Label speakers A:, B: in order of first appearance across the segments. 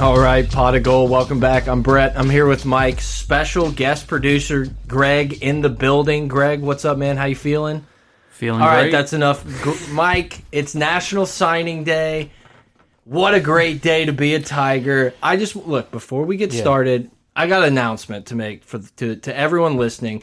A: right, Pot of Gold, welcome back. I'm Brett. I'm here with Mike, special guest producer Greg in the building. Greg, what's up, man? How you feeling?
B: Feeling
A: All right,
B: great.
A: that's enough. Gr- Mike, it's National Signing Day. What a great day to be a Tiger. I just look before we get started. I got an announcement to make for to to everyone listening.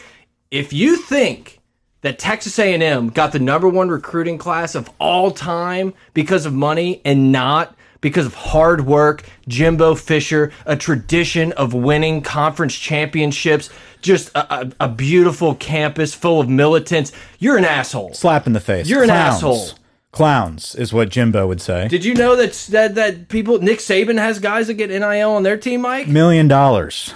A: If you think that Texas A&M got the number 1 recruiting class of all time because of money and not because of hard work, Jimbo Fisher, a tradition of winning conference championships, just a, a, a beautiful campus full of militants. You're an asshole.
C: Slap in the face.
A: You're an
C: Clowns.
A: asshole.
C: Clowns is what Jimbo would say.
A: Did you know that that, that people Nick Saban has guys that get NIL on their team, Mike?
C: Million dollars.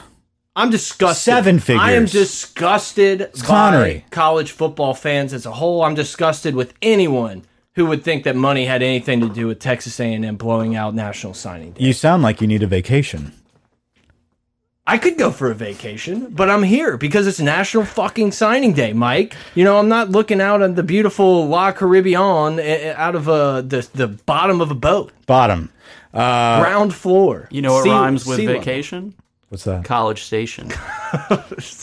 A: I'm disgusted.
C: Seven figures.
A: I am disgusted by
C: Connery.
A: college football fans as a whole. I'm disgusted with anyone who would think that money had anything to do with Texas A&M blowing out National Signing Day.
C: You sound like you need a vacation.
A: I could go for a vacation, but I'm here because it's National fucking Signing Day, Mike. You know, I'm not looking out on the beautiful La Caribbean eh, eh, out of uh, the the bottom of a boat,
C: Bottom. Uh,
A: ground floor.
B: You know what
A: Sea-
B: rhymes with
A: sea level.
B: vacation?
C: What's that?
B: College Station.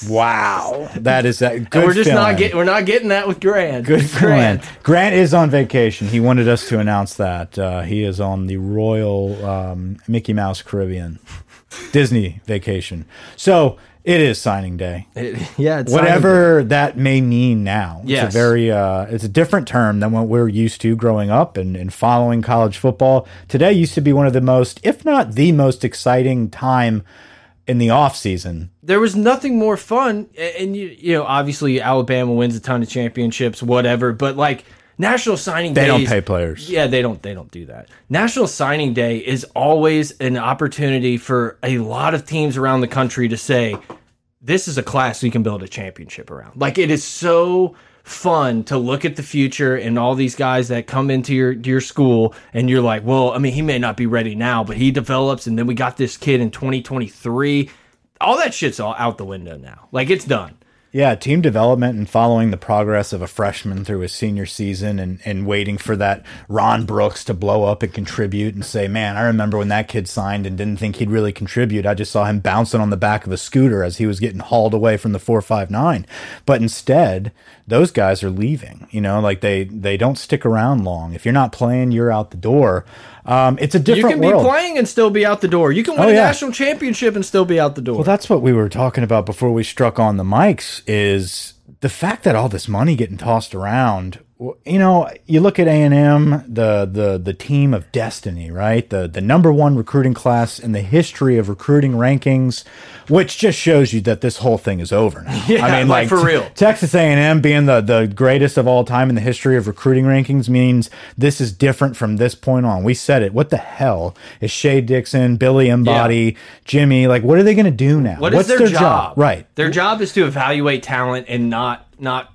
C: Wow. That is that. Good
A: we're just
C: feeling.
A: not getting we're not getting that with Grant.
C: Good Grant. Grant is on vacation. He wanted us to announce that uh, he is on the Royal um, Mickey Mouse Caribbean Disney vacation. So it is signing day.
A: yeah, it's
C: Whatever that may mean now.
A: Yes.
C: It's a very uh, it's a different term than what we're used to growing up and, and following college football. Today used to be one of the most, if not the most exciting time in the off season.
A: there was nothing more fun, a- and you you know obviously Alabama wins a ton of championships, whatever. But like National Signing
C: They
A: Day,
C: don't pay players.
A: Yeah, they don't. They don't do that. National Signing Day is always an opportunity for a lot of teams around the country to say, "This is a class we can build a championship around." Like it is so fun to look at the future and all these guys that come into your your school, and you're like, "Well, I mean, he may not be ready now, but he develops." And then we got this kid in 2023. All that shit's all out the window now. Like it's done.
C: Yeah, team development and following the progress of a freshman through his senior season and, and waiting for that Ron Brooks to blow up and contribute and say, Man, I remember when that kid signed and didn't think he'd really contribute. I just saw him bouncing on the back of a scooter as he was getting hauled away from the 459. But instead, those guys are leaving. You know, like they, they don't stick around long. If you're not playing, you're out the door. Um, it's a
A: You
C: different
A: can
C: world.
A: be playing and still be out the door. You can win
C: Oh,
A: a
C: yeah.
A: national championship and still be out the door.
C: Well, that's what we were talking about before we struck on the mics is the fact that all this money getting tossed around. w- You know, you look at A&M, the the the team of destiny, right? The the number one recruiting class in the history of recruiting rankings, which just shows you that this whole thing is over now.
A: Yeah, like, for
C: t-
A: real.
C: Texas A&M being the the greatest of all time in the history of recruiting rankings means this is different from this point on. We said it. What the hell is Shea Dixon, Billy Embody, Jimmy? Like, what are they going to do now?
A: What is
C: What's
A: their, job?
C: Right.
A: Their job is to evaluate talent and not not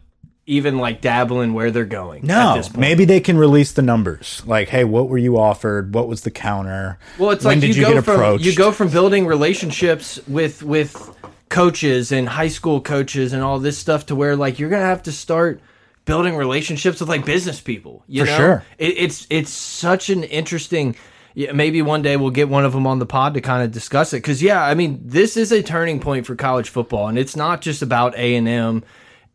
A: even like dabble in where they're going. at
C: No,
A: this point.
C: maybe they can release the numbers. Like, hey, what were you offered? What was the counter?
A: Well, it's
C: when
A: like
C: did
A: you,
C: you,
A: go
C: get
A: from
C: approached?
A: you go from building relationships with with coaches and high school coaches and all this stuff to where like you're gonna have to start building relationships with like business people. You
C: For
A: know?
C: sure.
A: it, it's it's such an interesting. yeah, Maybe one day we'll get one of them on the pod to kind of discuss it. Because yeah, I mean, this is a turning point for college football, and it's not just about A and M,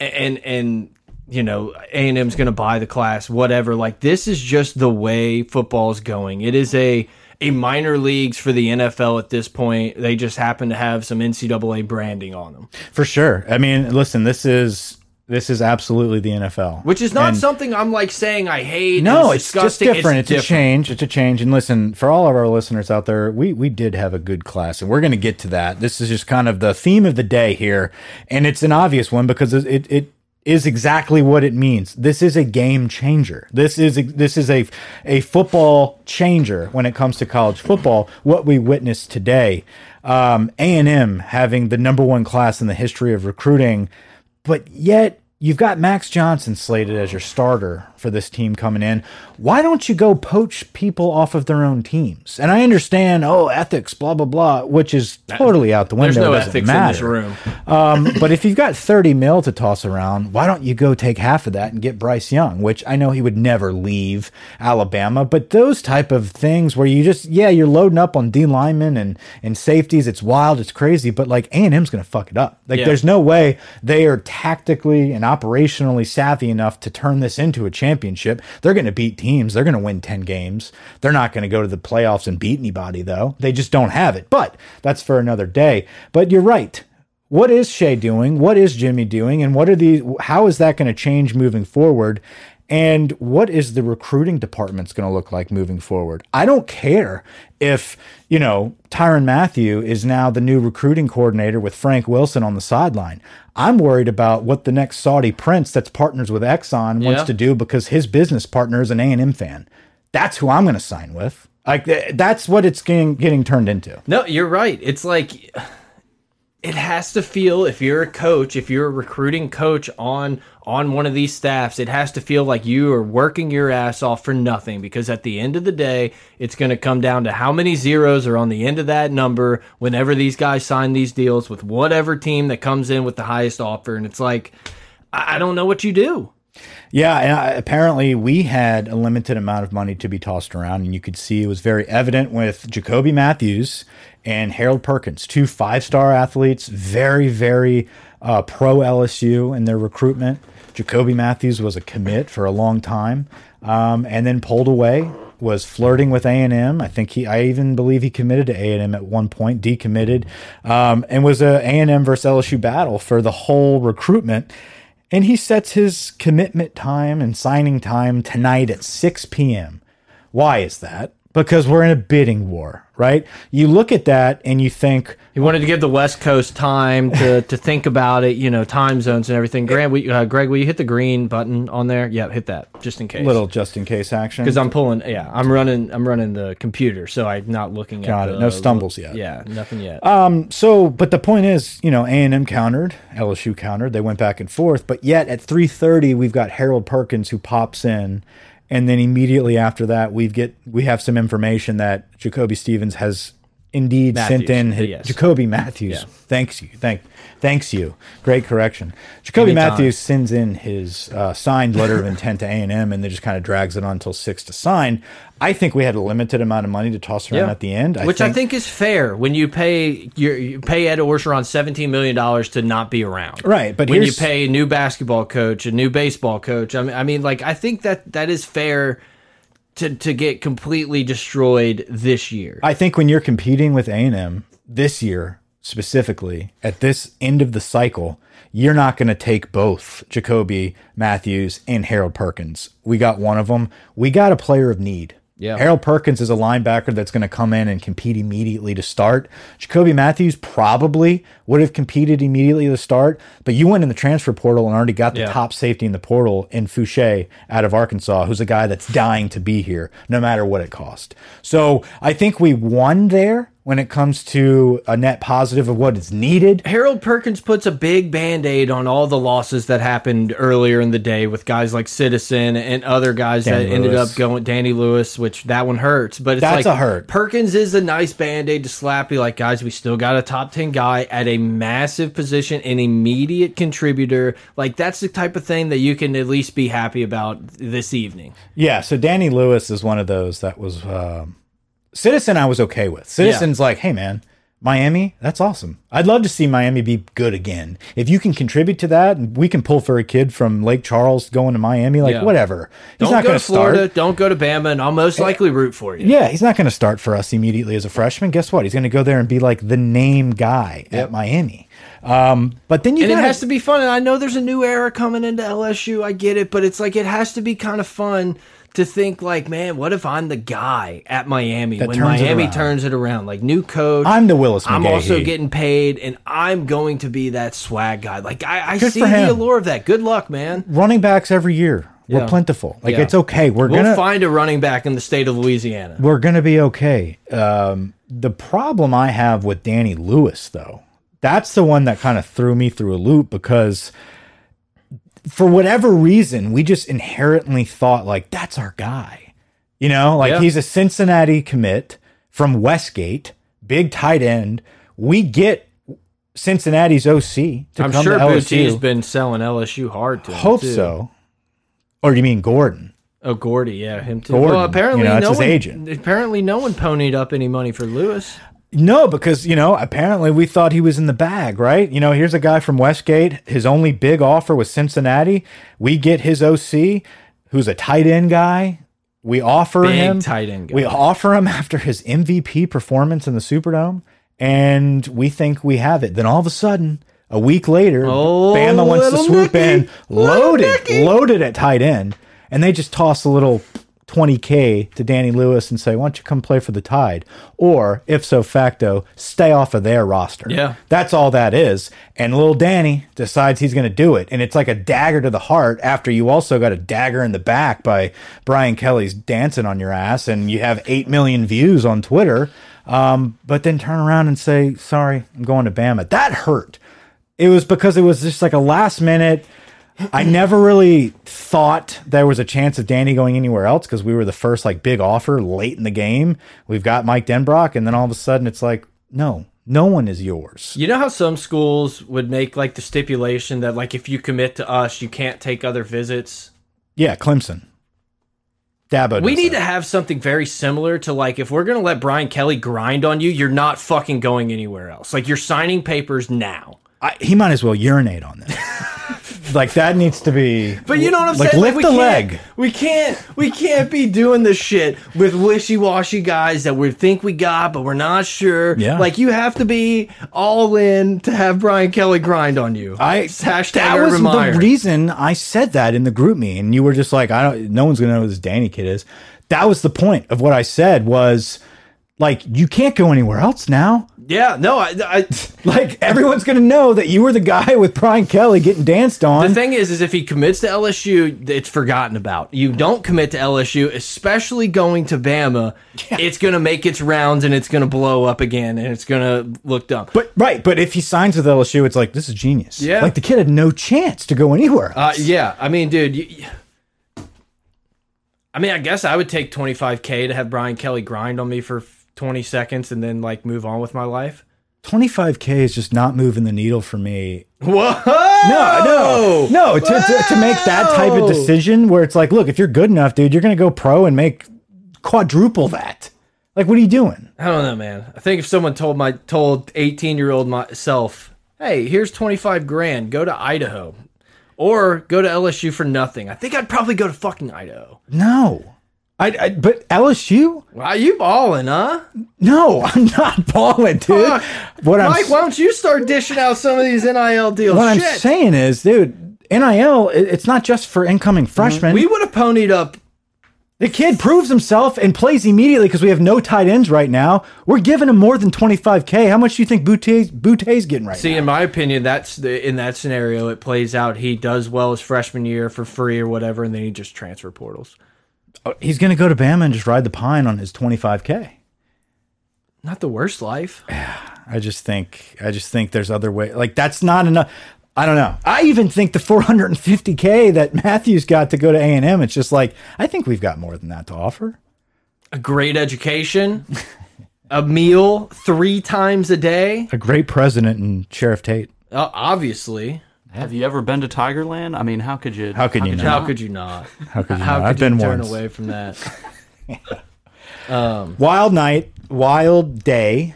A: and and you know A and M's going to buy the class, whatever. Like this is just the way football's going. It is a a minor leagues for the NFL at this point. They just happen to have some NCAA branding on them,
C: for sure. I mean, listen, this is this is absolutely the NFL,
A: which is not
C: And-
A: something I'm like saying I hate.
C: No,
A: and
C: it's just
A: disgusting.
C: different. It's, a
A: different.
C: change. It's a change. And listen, for all of our listeners out there, we we did have a good class, and we're going to get to that. This is just kind of the theme of the day here, and it's an obvious one because it it. it is exactly what it means. This is a game changer. This is a, this is a a football changer when it comes to college football. What we witnessed today, um, A and M having the number one class in the history of recruiting, but yet You've got Max Johnson slated as your starter for this team coming in. Why don't you go poach people off of their own teams? And I understand, oh, ethics, blah blah blah, which is totally out the window.
A: There's no
C: It doesn't
A: ethics in this
C: matter.
A: room.
C: Um, but if you've got 30 mil to toss around, why don't you go take half of that and get Bryce Young, which I know he would never leave Alabama, but those type of things where you just, yeah, you're loading up on D linemen and, and safeties. It's wild. It's crazy, but like A&M's going to fuck it up. Like
A: Yeah.
C: there's no way they are tactically and operationally savvy enough to turn this into a championship. They're going to beat teams. They're going to win 10 games. They're not going to go to the playoffs and beat anybody though. They just don't have it, but that's for another day. But you're right what is Shea doing? What is Jimmy doing? And what are the how is that going to change moving forward? And what is the recruiting department's going to look like moving forward? I don't care if, you know, Tyron Matthew is now the new recruiting coordinator with Frank Wilson on the sideline. I'm worried about what the next Saudi prince that's partners with Exxon wants
A: Yeah.
C: to do because his business partner is an A&M fan. That's who I'm going to sign with. Like th- that's what it's getting getting turned into.
A: No, you're right. It's like it has to feel if you're a coach, if you're a recruiting coach on on one of these staffs, it has to feel like you are working your ass off for nothing because at the end of the day, it's going to come down to how many zeros are on the end of that number whenever these guys sign these deals with whatever team that comes in with the highest offer and it's like I I don't know what you do.
C: Yeah, and I, apparently we had a limited amount of money to be tossed around, and you could see it was very evident with Jacoby Matthews and Harold Perkins, two five-star athletes, very, very uh, pro LSU in their recruitment. Jacoby Matthews was a commit for a long time, um, and then pulled away. Was flirting with A and M. I think he, I even believe he committed to A and M at one point, decommitted, um, and was a A and M versus LSU battle for the whole recruitment. And he sets his commitment time and signing time tonight at 6 p.m. Why is that? Because we're in a bidding war, right? You look at that and you think,
A: He wanted to give the West Coast time to, to think about it, you know, time zones and everything. Grant, we, uh, Greg, will you hit the green button on there? Yeah, hit that just in case.
C: little just in case action.
A: because I'm pulling. Yeah, I'm running. I'm running the computer, so I'm not looking at.
C: Got it.
A: the-
C: No stumbles yet. Uh,
A: Yeah, nothing yet.
C: so but the point is you know a&m countered lsu countered they went back and forth but yet at 3.30 we've got harold perkins who pops in and then immediately after that we get we have some information that jacoby stevens has indeed
A: Matthews,
C: sent in his,
A: yes.
C: jacoby matthews thanks you thank thanks you great correction jacoby
A: Anytime.
C: matthews sends in his uh, signed letter of intent to a&m and then just kind of drags it on until six to sign i think we had a limited amount of money to toss around
A: Yeah.
C: at the end
A: which I think is fair when you pay your, you pay Ed Orgeron seventeen million dollars to not be around.
C: Right, but
A: when you
C: here's-
A: pay a new basketball coach, a new baseball coach, I mean, I mean, like I think that that is fair to to get completely destroyed this year.
C: I think when you're competing with A&M this year specifically at this end of the cycle, you're not going to take both Jacoby Matthews and Harold Perkins. We got one of them. We got a player of need.
A: Yeah.
C: Harold Perkins is a linebacker that's going to come in and compete immediately to start. Jacoby Matthews probably would have competed immediately to start, but you went in the transfer portal and already got the
A: Yeah.
C: top safety in the portal in Fouché out of Arkansas, who's a guy that's dying to be here no matter what it cost. So I think we won there when it comes to a net positive of what is needed.
A: Harold Perkins puts a big band aid on all the losses that happened earlier in the day with guys like Citizen and other guys
C: Danny
A: that ended
C: Lewis.
A: up going Danny Lewis, which that one hurts. But it's
C: That's
A: like
C: a hurt.
A: Perkins is a nice band aid to slap you like, guys, we still got a top 10 guy at a massive position, an immediate contributor. Like, that's the type of thing that you can at least be happy about this evening.
C: Yeah, so Danny Lewis is one of those that was um, Citizen. I was okay with Citizen's like, hey man, Miami, that's awesome. I'd love to see Miami be good again. If you can contribute to that, and we can pull for a kid from Lake Charles going to Miami, like
A: Yeah.
C: whatever. He's
A: Don't
C: not
A: go
C: going
A: to
C: to start. Eh,
A: Florida. Don't go to Bama, and I'll most likely root for you.
C: Yeah, he's not going to start for us immediately as a freshman. Guess what? He's going to go there and be like the name guy at Miami. Um, but then you
A: And it
C: gotta-
A: has to be fun. And I know there's a new era coming into LSU. I get it, but it's like it has to be kind of fun to think like, man, what if I'm the guy at Miami when
C: turns it
A: Miami
C: around.
A: turns it around? Like new coach.
C: I'm the Willis.
A: I'm
C: McGahee.
A: also getting paid, and I'm going to be that swag guy. Like I, I
C: Good
A: see
C: for him.
A: the allure of that. Good luck, man.
C: running backs every year. We're
A: Yeah.
C: plentiful. Like
A: Yeah.
C: it's okay. We're
A: We'll
C: gonna
A: find a running back in the state of Louisiana.
C: we're gonna be okay. Um, the problem I have with Danny Lewis, though, that's the one that kind of threw me through a loop because for whatever reason, we just inherently thought like that's our guy. You know, like
A: Yeah.
C: he's a Cincinnati commit from Westgate, big tight end. We get Cincinnati's OC to
A: I'm
C: come
A: sure
C: to
A: Booty has
C: LSU.
A: been selling LSU hard to him,
C: Hope
A: too.
C: so. Or you mean Gordon?
A: Oh, Gordy, yeah, him too.
C: Gordon,
A: well, apparently
C: you know, that's
A: no
C: his
A: one,
C: agent.
A: Apparently, no one ponied up any money for Lewis.
C: No, because you know, apparently we thought he was in the bag, right? You know, here's a guy from Westgate. His only big offer was Cincinnati. We get his OC, who's a tight end guy. We offer
A: Big
C: him
A: tight end guy.
C: We offer him after his MVP performance in the Superdome, and we think we have it. Then all of a sudden, a week later,
A: Oh,
C: Bama wants to
A: little
C: swoop
A: Nicky.
C: in, loaded, loaded at tight end, and they just toss a little 20k to Danny Lewis and say, "Why don't you come play for the Tide?" Or, if so facto, stay off of their roster.
A: Yeah.
C: that's all that is. And little Danny decides he's going to do it, and it's like a dagger to the heart. After you also got a dagger in the back by Brian Kelly's dancing on your ass, and you have eight million views on Twitter. Um, but then turn around and say, "Sorry, I'm going to Bama." That hurt it was because it was just like a last minute. I never really thought there was a chance of Danny going anywhere else because we were the first like big offer late in the game. We've got Mike Denbrock, and then all of a sudden it's like, no, no one is yours.
A: You know how some schools would make like the stipulation that like if you commit to us, you can't take other visits.
C: Yeah, Clemson. Dabo.
A: We
C: does
A: need
C: that.
A: to have something very similar to like if we're gonna let Brian Kelly grind on you, you're not fucking going anywhere else. Like you're signing papers now.
C: I, he might as well urinate on this. like that needs to be.
A: But you know what I'm
C: like,
A: saying?
C: Lift
A: we
C: the
A: can't-
C: leg.
A: We can't we can't be doing this shit with wishy washy guys that we think we got, but we're not sure.
C: Yeah.
A: Like you have to be all in to have Brian Kelly grind on you.
C: I
A: It's hashtag
C: that was
A: Urban Meyer.
C: the reason I said that in the group me, and you were just like, I don't. No one's gonna know who this Danny kid is. That was the point of what I said was like you can't go anywhere else now.
A: Yeah, no, I, I
C: Like everyone's gonna know that you were the guy with Brian Kelly getting danced
A: The
C: on.
A: thing is, is if he commits to LSU, it's forgotten about. You don't commit to LSU, especially going to Bama. It's going to make its rounds and it's going to blow up again and it's going to look dumb.
C: but right, but if he signs with LSU, it's like this is genius.
A: Yeah.
C: like the kid had no chance to go anywhere.
A: Uh,
C: Else.
A: yeah, I mean, dude, you, you- I mean, I guess I would take 25K to have Brian Kelly grind on me for 20 seconds and then like move on with my life.
C: Twenty five k is just not moving the needle for me
A: Whoa!
C: No, no, no. To, to, to make that type of
A: Wow.
C: decision where it's like, look, if you're good enough, dude, you're gonna go pro and make quadruple that. Like, what are you doing?
A: I don't know, man. I think if someone told my told eighteen year old myself, "Hey, here's twenty five grand. Go to Idaho, or go to LSU for nothing," I think I'd probably go to fucking Idaho.
C: No, I. I but LSU?
A: Wow, you balling, huh?
C: No, I'm not balling, dude.
A: Fuck.
C: What I'm
A: Mike, why don't you start dishing out some of these NIL deals?
C: what I'm
A: Shit.
C: saying is, dude, NIL. it- it's not just for incoming freshmen.
A: Mm-hmm. we would have ponied up.
C: the kid proves himself and plays immediately because we have no tight ends right now. We're giving him more than 25k. How much do you think Boutte Boutte's getting right
A: See,
C: now?
A: in my opinion, that's the, in that scenario, it plays out. He does well his freshman year for free or whatever, and then he just transfer portals.
C: He's gonna go to Bama and just ride the pine on his 25k.
A: Not the worst life.
C: I just think I just think there's other way. Like that's not enough. I don't know. I even think the 450k that Matthews got to go to A and M. It's just like I think we've got more than that to offer.
A: a great education, a meal three times a day.
C: A great president and Sheriff Tate.
A: Uh, obviously,
B: Have you ever been to Tigerland? I mean, how could you?
C: How could you
A: how
C: not?
A: could you not?
C: How could you
A: How
C: not?
A: could
C: I've
A: you
C: been
A: turn
C: once.
A: away from that?
C: Wild night, wild day.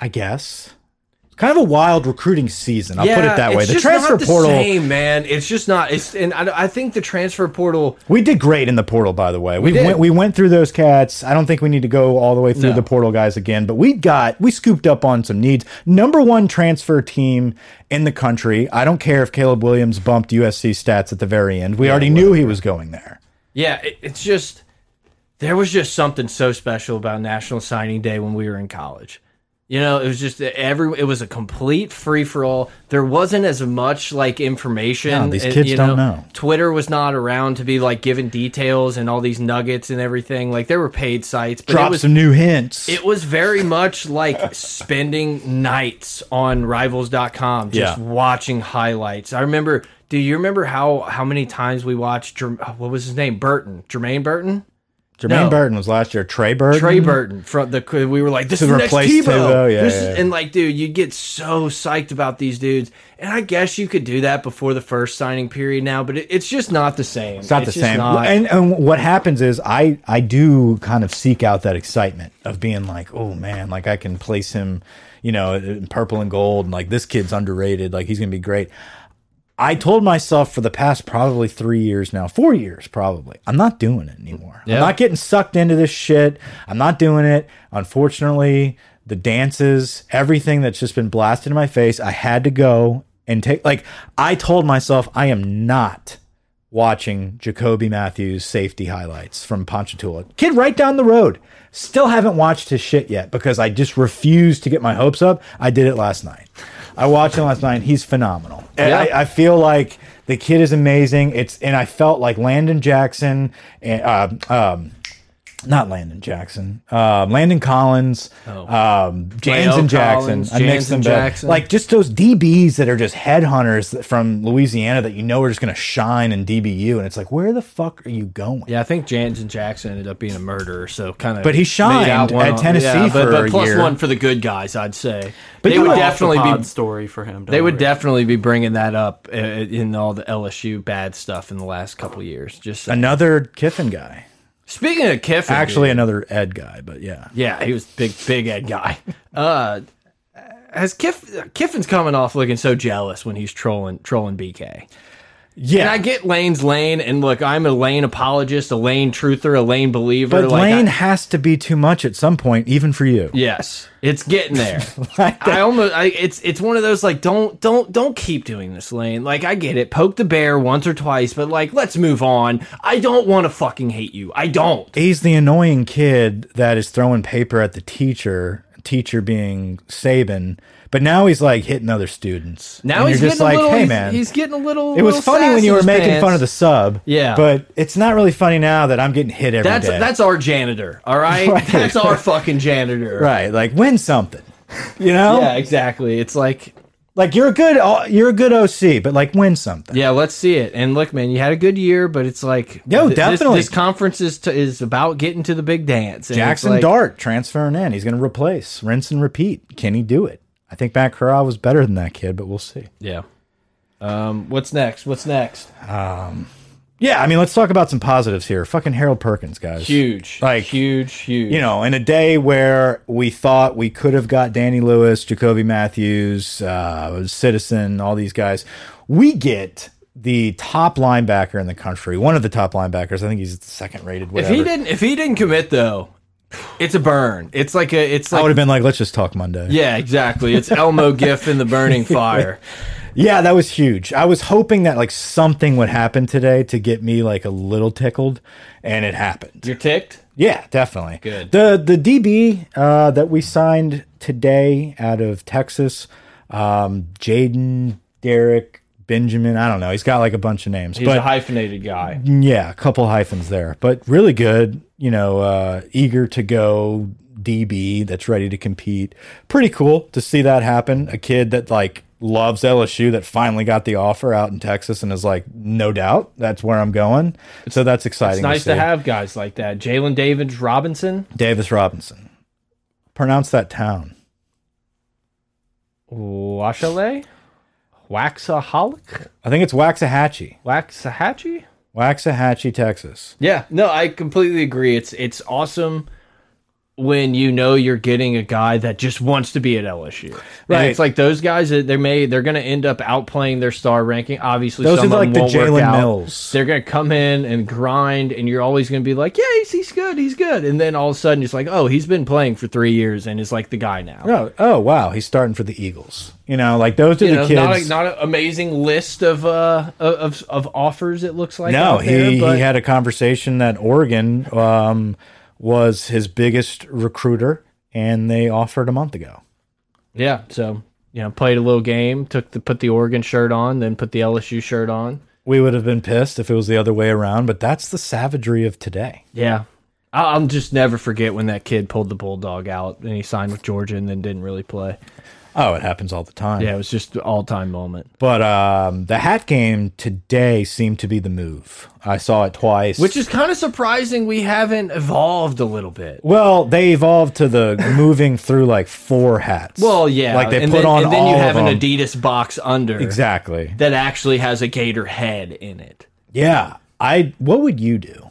C: I guess. Kind of a wild recruiting season. I'll put it that way.
A: it's
C: The
A: just
C: transfer
A: not the
C: portal.
A: same, man. It's just not. It's and I, I think the transfer portal.
C: We did great in the portal, by the way. We,
A: did.
C: went we went through those cats. I don't think we need to go all the way through
A: No.
C: the portal guys again, but we got we scooped up on some needs. Number one transfer team in the country. I don't care if Caleb Williams bumped USC stats at the very end. We already knew he was going there.
A: Yeah, it, it's just there was just something so special about National Signing Day when we were in college. You know, it was just every. It was a complete free for all. There wasn't as much like information.
C: No, these
A: and,
C: kids
A: you
C: don't know.
A: Twitter was not around to be like giving details and all these nuggets and everything. Like there were paid sites, but
C: Drop
A: it was
C: some new hints.
A: it was very much like spending nights on rivals.com just
C: Yeah.
A: watching highlights. I remember, do you remember how how many times we watched Jerm- what was his name? Burton, Jermaine Burton?
C: Jermaine
A: no.
C: Burton was last year. Trey Burton.
A: Trey Burton from the we were like this
C: Mm-hmm. To
A: is the next
C: replace
A: Tebow.
C: Tebow, yeah,
A: This
C: yeah,
A: is-
C: yeah.
A: and like dude, you get so psyched about these dudes. And I guess you could do that before the first signing period now, but it, it's just not the same.
C: It's not the
A: just
C: same.
A: not-
C: And, and what happens is I I do kind of seek out that excitement of being like, oh man, like I can place him, you know, in purple and gold, and like this kid's underrated, like he's gonna be great. I told myself for the past probably three years now, four years probably, I'm not doing it anymore. I'm not getting sucked into this shit. I'm not doing it. Unfortunately, the dances, everything that's just been blasted in my face, I had to go and take. Like, I told myself, I am not watching Jacoby Matthews safety highlights from Ponchatoula. Kid right down the road. Still haven't watched his shit yet because I just refuse to get my hopes up. I did it last night. I watched him last night. He's phenomenal. And
A: Yeah.
C: I, I feel like the kid is amazing. It's and I felt like Landon Jackson and uh, um not Landon Jackson, um, Landon Collins, um, Jansen
A: Leo
C: Jackson.
A: Oh. Collins,
C: I mixed
A: Jansen
C: them Jackson.
A: Jackson.
C: Like just those DBs that are just headhunters from Louisiana that you know are just going to shine in DBU, and it's like, where the fuck are you going?
A: Yeah, I think Jansen Jackson ended up being a murderer, so kind of.
C: But he shined at Tennessee
A: but,
C: for
A: but
C: a
A: plus
C: year.
A: one for the good guys, I'd say.
C: But
A: they
C: you
A: would
C: know-
A: definitely
B: Off the pod
A: be.
B: story for him.
A: They would definitely be bringing that up uh, in all the LSU bad stuff in the last couple of years. Just saying.
C: Another Kiffin guy,
A: speaking of Kiffin,
C: actually another Ed guy, but yeah,
A: dude, yeah, he was big, big head guy. Uh, has Kiff, Kiffin's coming off looking so jealous when he's trolling trolling BK. And
C: yeah.
A: I get Lane's lane, and look, I'm a Lane apologist, a Lane truther, a Lane believer.
C: but
A: like, I-
C: Lane has to be too much at some point, even for you.
A: Yes, it's getting there.
C: Like
A: I almost, I, it's it's one of those like don't don't don't keep doing this, Lane. Like I get it, poke the bear once or twice, but like let's move on. I don't want to fucking hate you. I don't.
C: He's the annoying kid that is throwing paper at the teacher, teacher being Saban. But now he's like hitting other students.
A: Now
C: And
A: he's
C: you're
A: getting
C: just like,
A: a little.
C: hey
A: he's-
C: man,
A: he's getting a little.
C: It was
A: little
C: funny
A: sass
C: when
A: in
C: you were
A: his
C: making
A: pants.
C: fun of the sub.
A: Yeah.
C: But it's not really funny now that I'm getting hit every day.
A: That's that's our janitor. All right,
C: Right.
A: that's our fucking janitor.
C: right. Like win something. You know?
A: Yeah, exactly. It's like,
C: Like you're a good uh, you're a good OC, but like win something.
A: yeah, let's see it. And look, man, you had a good year, but it's like,
C: Yo,
A: th- this-
C: definitely.
A: This, conference is to, is about getting to the big dance. And it's
C: Jackson
A: like,
C: Dart transferring in. He's going to replace, rinse and repeat. Can he do it? I think Matt Corral was better than that kid, but we'll see.
A: Yeah. Um, what's next? What's next?
C: Yeah, I mean, let's talk about some positives here. Fucking Harold Perkins, guys.
A: Huge.
C: Like,
A: huge, huge.
C: you know, in a day where we thought we could have got Danny Lewis, Jacoby Matthews, uh, Citizen, all these guys, we get the top linebacker in the country, one of the top linebackers. I think he's the second rated.
A: if
C: Whatever.
A: he didn't if he didn't commit though, it's a burn. It's like a it's
C: I would
A: like
C: have been like, let's just talk Monday.
A: yeah, exactly. It's Elmo Giff in the burning fire.
C: Yeah, that was huge. I was hoping that like something would happen today to get me like a little tickled, and it happened.
A: You're ticked?
C: Yeah, definitely.
A: Good.
C: The the DB uh, that we signed today out of Texas, um, Jaden, Derek, Benjamin. I don't know. He's got like a bunch of names,
A: He's
C: but
A: a hyphenated guy.
C: yeah, a couple hyphens there. But really good. You know, uh, eager to go DB that's ready to compete. Pretty cool to see that happen. A kid that like loves LSU that finally got the offer out in Texas and is like, no doubt that's where I'm going. So that's exciting.
A: It's nice
C: see.
A: to have guys like that. Jalen David Robinson.
C: Davis Robinson. Pronounce that town.
A: Washale? Waxaholic?
C: I think it's Waxahachie.
A: Waxahachie?
C: Waxahachie, Texas.
A: Yeah, no, I completely agree. It's it's awesome when you know you're getting a guy that just wants to be at LSU.
C: Right.
A: And it's like those guys that they may they're going to end up outplaying their star ranking. Obviously,
C: Those
A: some
C: are
A: of
C: like
A: them
C: the
A: won't work
C: Jalen
A: out.
C: Mills.
A: They're going to come in and grind, and you're always going to be like, "Yeah, he's, he's good, he's good." And then all of a sudden, it's like, "Oh, he's been playing for three years and is like the guy now."
C: Oh, oh wow, he's starting for the Eagles. You know, like those are
A: You
C: the
A: know,
C: kids.
A: not a, not an amazing list of uh of of offers. It looks like
C: no,
A: out there,
C: he,
A: but-
C: he had a conversation that Oregon um, was his biggest recruiter, and they offered a month ago.
A: Yeah, so you know, played a little game, took the put the Oregon shirt on, then put the LSU shirt on.
C: We would have been pissed if it was the other way around, but that's the savagery of today.
A: Yeah. I- I'll just never forget when that kid pulled the bulldog out and he signed with Georgia and then didn't really play.
C: Oh, it happens all the time.
A: Yeah, it was just an all time moment.
C: But um, the hat game today seemed to be the move. I saw it twice.
A: Which is kind of surprising we haven't evolved a little bit.
C: well, they evolved to the moving through like four hats.
A: Well, yeah.
C: like they
A: and
C: put
A: then,
C: on
A: and then
C: all
A: you have an
C: of them.
A: Adidas box under
C: exactly.
A: that actually has a gator head in it.
C: Yeah, I. What would you do?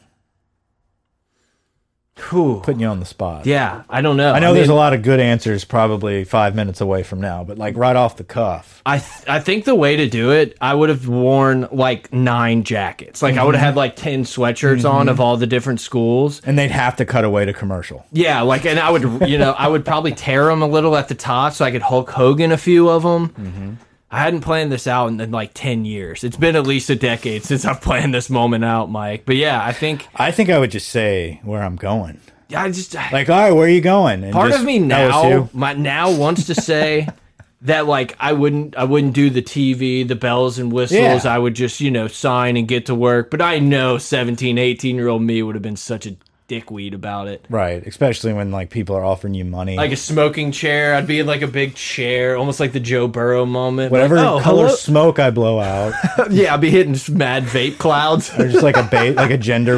A: Whew.
C: Putting you on the spot.
A: Yeah, I don't know.
C: I know there's a lot of good answers probably five minutes away from now, but like right off the cuff.
A: I th I think the way to do it, I would have worn like nine jackets. Like I would have had like ten sweatshirts on of all the different schools.
C: And they'd have to cut away to commercial.
A: Yeah, like and I would you know I would probably tear them a little at the top so I could Hulk Hogan a few of them. I hadn't planned this out in, in like ten years. It's been at least a decade since I've planned this moment out, Mike. But yeah, I think
C: I think I would just say where I'm going.
A: I just
C: Like, all right, where are you going? And
A: part
C: just
A: of me now
C: LSU.
A: my now wants to say that like I wouldn't I wouldn't do the TV, the bells and whistles.
C: Yeah.
A: I would just, you know, sign and get to work, but I know 17, 18 year old me would have been such a dickweed about it.
C: Right, especially when like people are offering you money.
A: Like a smoking chair, I'd be in like a big chair, almost like the Joe Burrow moment.
C: Whatever
A: Like, oh,
C: color
A: hello-
C: smoke I blow out,
A: Yeah, I'd be hitting s- mad vape clouds.
C: or just like a bait, like a gender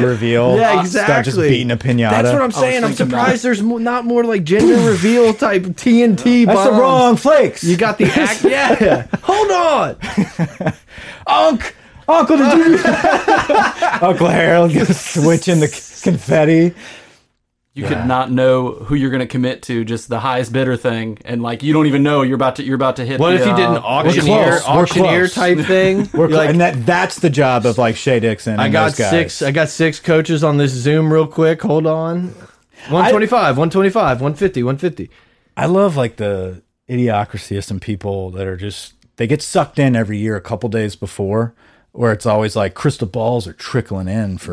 C: reveal.
A: Yeah,
C: Start just
A: exactly.
C: beating a pinata.
A: That's what I'm saying. I'm
B: thinking that.
A: surprised there's mo not more like gender reveal type TNT.
C: That's the
A: bombs.
C: wrong flakes.
A: You got the act. Yeah. Hold on.
C: Unc, Uncle, did you? Uncle Harold just switching the confetti.
B: You could not know who you're going to commit to, just the highest bidder thing, and like you don't even know you're about to you're about to hit.
A: What
B: the,
A: if you did an
B: uh,
A: auctioneer,
C: close, we're
A: auctioneer
C: close.
A: type thing?
C: We're
A: You're like,
C: and that that's the job of like Shay Dixon. And
A: I got
C: those guys.
A: six. I got six coaches on this Zoom real quick. Hold on. 125, 125, 150, 150.
C: I love like the idiocracy of some people that are just they get sucked in every year a couple days before, where it's always like crystal balls are trickling in for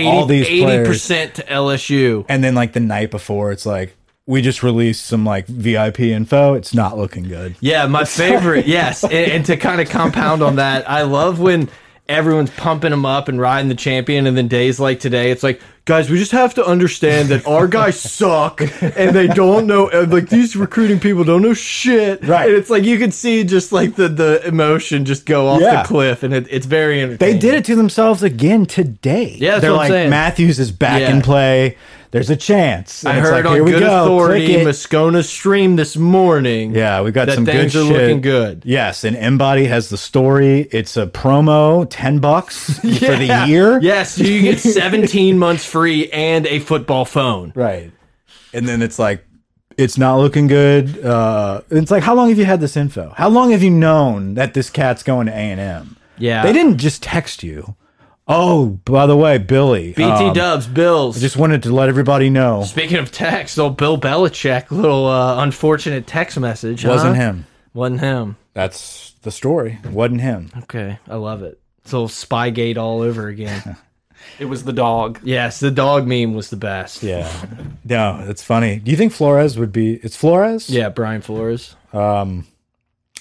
C: all these players,
A: percent to LSU.
C: and then like the night before it's like we just released some like VIP info. It's not looking good.
A: Yeah, my favorite. yes, and, and to kind of compound on that, I love when everyone's pumping them up and riding the champion, and then days like today, it's like, guys, we just have to understand that our guys suck and they don't know. and, Like these recruiting people don't know shit.
C: Right.
A: And it's like you can see just like the the emotion just go off
C: Yeah.
A: the cliff, and it, it's very
C: They
A: entertaining.
C: did it to themselves again today.
A: Yeah, that's
C: they're
A: what I'm
C: like
A: saying.
C: Matthews is back
A: Yeah.
C: in play. There's a chance. And
A: I
C: it's
A: heard
C: like,
A: on
C: here we
A: good
C: go.
A: authority
C: Click it.
A: Moscona stream this morning.
C: Yeah, we got
A: that
C: some
A: things
C: good
A: are
C: shit.
A: looking good.
C: Yes, and Embody has the story. It's a promo, ten bucks for the
A: Yeah.
C: year.
A: Yes, you get 17 months free and a football phone.
C: right. And then it's like, it's not looking good. Uh, it's like, how long have you had this info? How long have you known that this cat's going to A and M?
A: Yeah.
C: They didn't just text you. Oh, by the way, Billy.
A: BT
C: um,
A: Dubs, Bills.
C: just wanted to let everybody know.
A: Speaking of text, old Bill Belichick, little uh, unfortunate text message.
C: Wasn't
A: huh?
C: him.
A: Wasn't him.
C: That's the story. Wasn't him.
A: Okay, I love it. It's old Spygate all over again.
B: It was the dog.
A: yes, the dog meme was the best.
C: Yeah. no, it's funny. Do you think Flores would be? It's Flores.
A: Yeah, Brian Flores.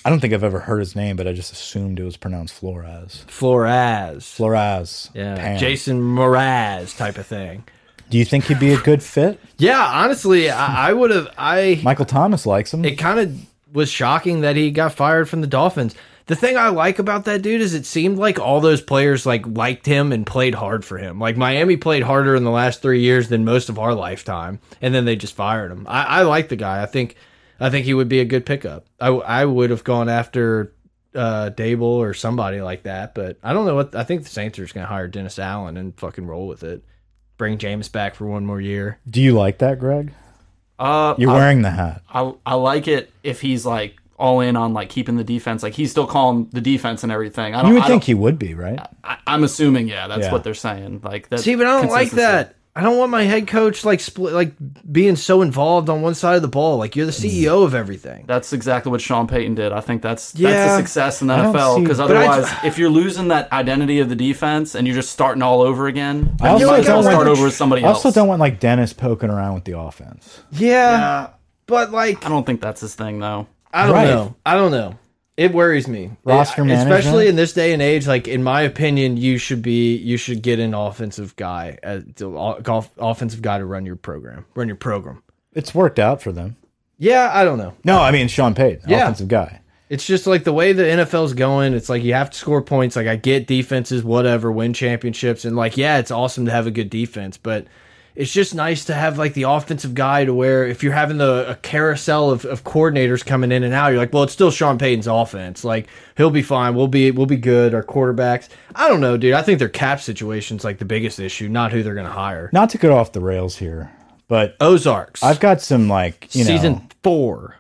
C: I don't think I've ever heard his name, but I just assumed it was pronounced Flores.
A: Flores.
C: Flores.
A: yeah,
C: Pan.
A: Jason Mraz type of thing.
C: Do you think he'd be a good fit?
A: Yeah, honestly, I, I would have. I
C: Michael Thomas likes him.
A: it kind of was shocking that he got fired from the Dolphins. The thing I like about that dude is it seemed like all those players like liked him and played hard for him. Like Miami played harder in the last three years than most of our lifetime, and then they just fired him. I, I like the guy. I think I think he would be a good pickup. I I would have gone after uh Dable or somebody like that, but I don't know what I think the Saints are just gonna hire Dennis Allen and fucking roll with it. Bring James back for one more year.
C: Do you like that, Greg?
B: Uh,
C: You're wearing the hat.
B: I I like it if he's like all in on like keeping the defense. Like he's still calling the defense and everything.
A: Oh,
B: I don't.
C: You would
B: I
C: think
B: don't,
C: he would be, right?
A: Uh,
B: I, I'm assuming yeah, that's
C: Yeah.
B: what they're saying. Like that.
A: See, but I don't like
B: consistency.
A: that. I don't want my head coach like split, like being so involved on one side of the ball. Like you're the CEO of everything.
B: That's exactly what Sean Payton did. I think that's that's
A: Yeah.
B: a success in the
C: don't
B: NFL
C: see-
B: because
A: but I-
B: otherwise, if you're losing that identity of the defense and you're just starting all over again,
C: I
B: you
C: also
B: might as well
C: don't
B: start
C: want-
B: over with somebody
C: I also
B: else.
C: don't want like Dennis poking around with the offense.
A: Yeah, but like
B: I don't think that's his thing though.
A: I don't
C: Right.
A: know. I don't know. It worries me.
C: Roster
A: It-
C: management?
A: Especially in this day and age, like in my opinion, you should be you should get an offensive guy as to- o- golf offensive guy to run your program. Run your program.
C: It's worked out for them.
A: Yeah, I don't know.
C: No, I mean Sean Payton,
A: Yeah.
C: offensive guy.
A: It's just like the way the NFL's going, it's like you have to score points. Like I get defenses, whatever, win championships and like yeah, it's awesome to have a good defense, but it's just nice to have like the offensive guy to where if you're having the a carousel of, of coordinators coming in and out, you're like, well, it's still Sean Payton's offense. Like he'll be fine. We'll be we'll be good. Our quarterbacks. I don't know, dude. I think their cap situation's like the biggest issue, not who they're gonna hire.
C: Not to get off the rails here, but
A: Ozarks.
C: I've got some like you
A: season
C: know
A: four.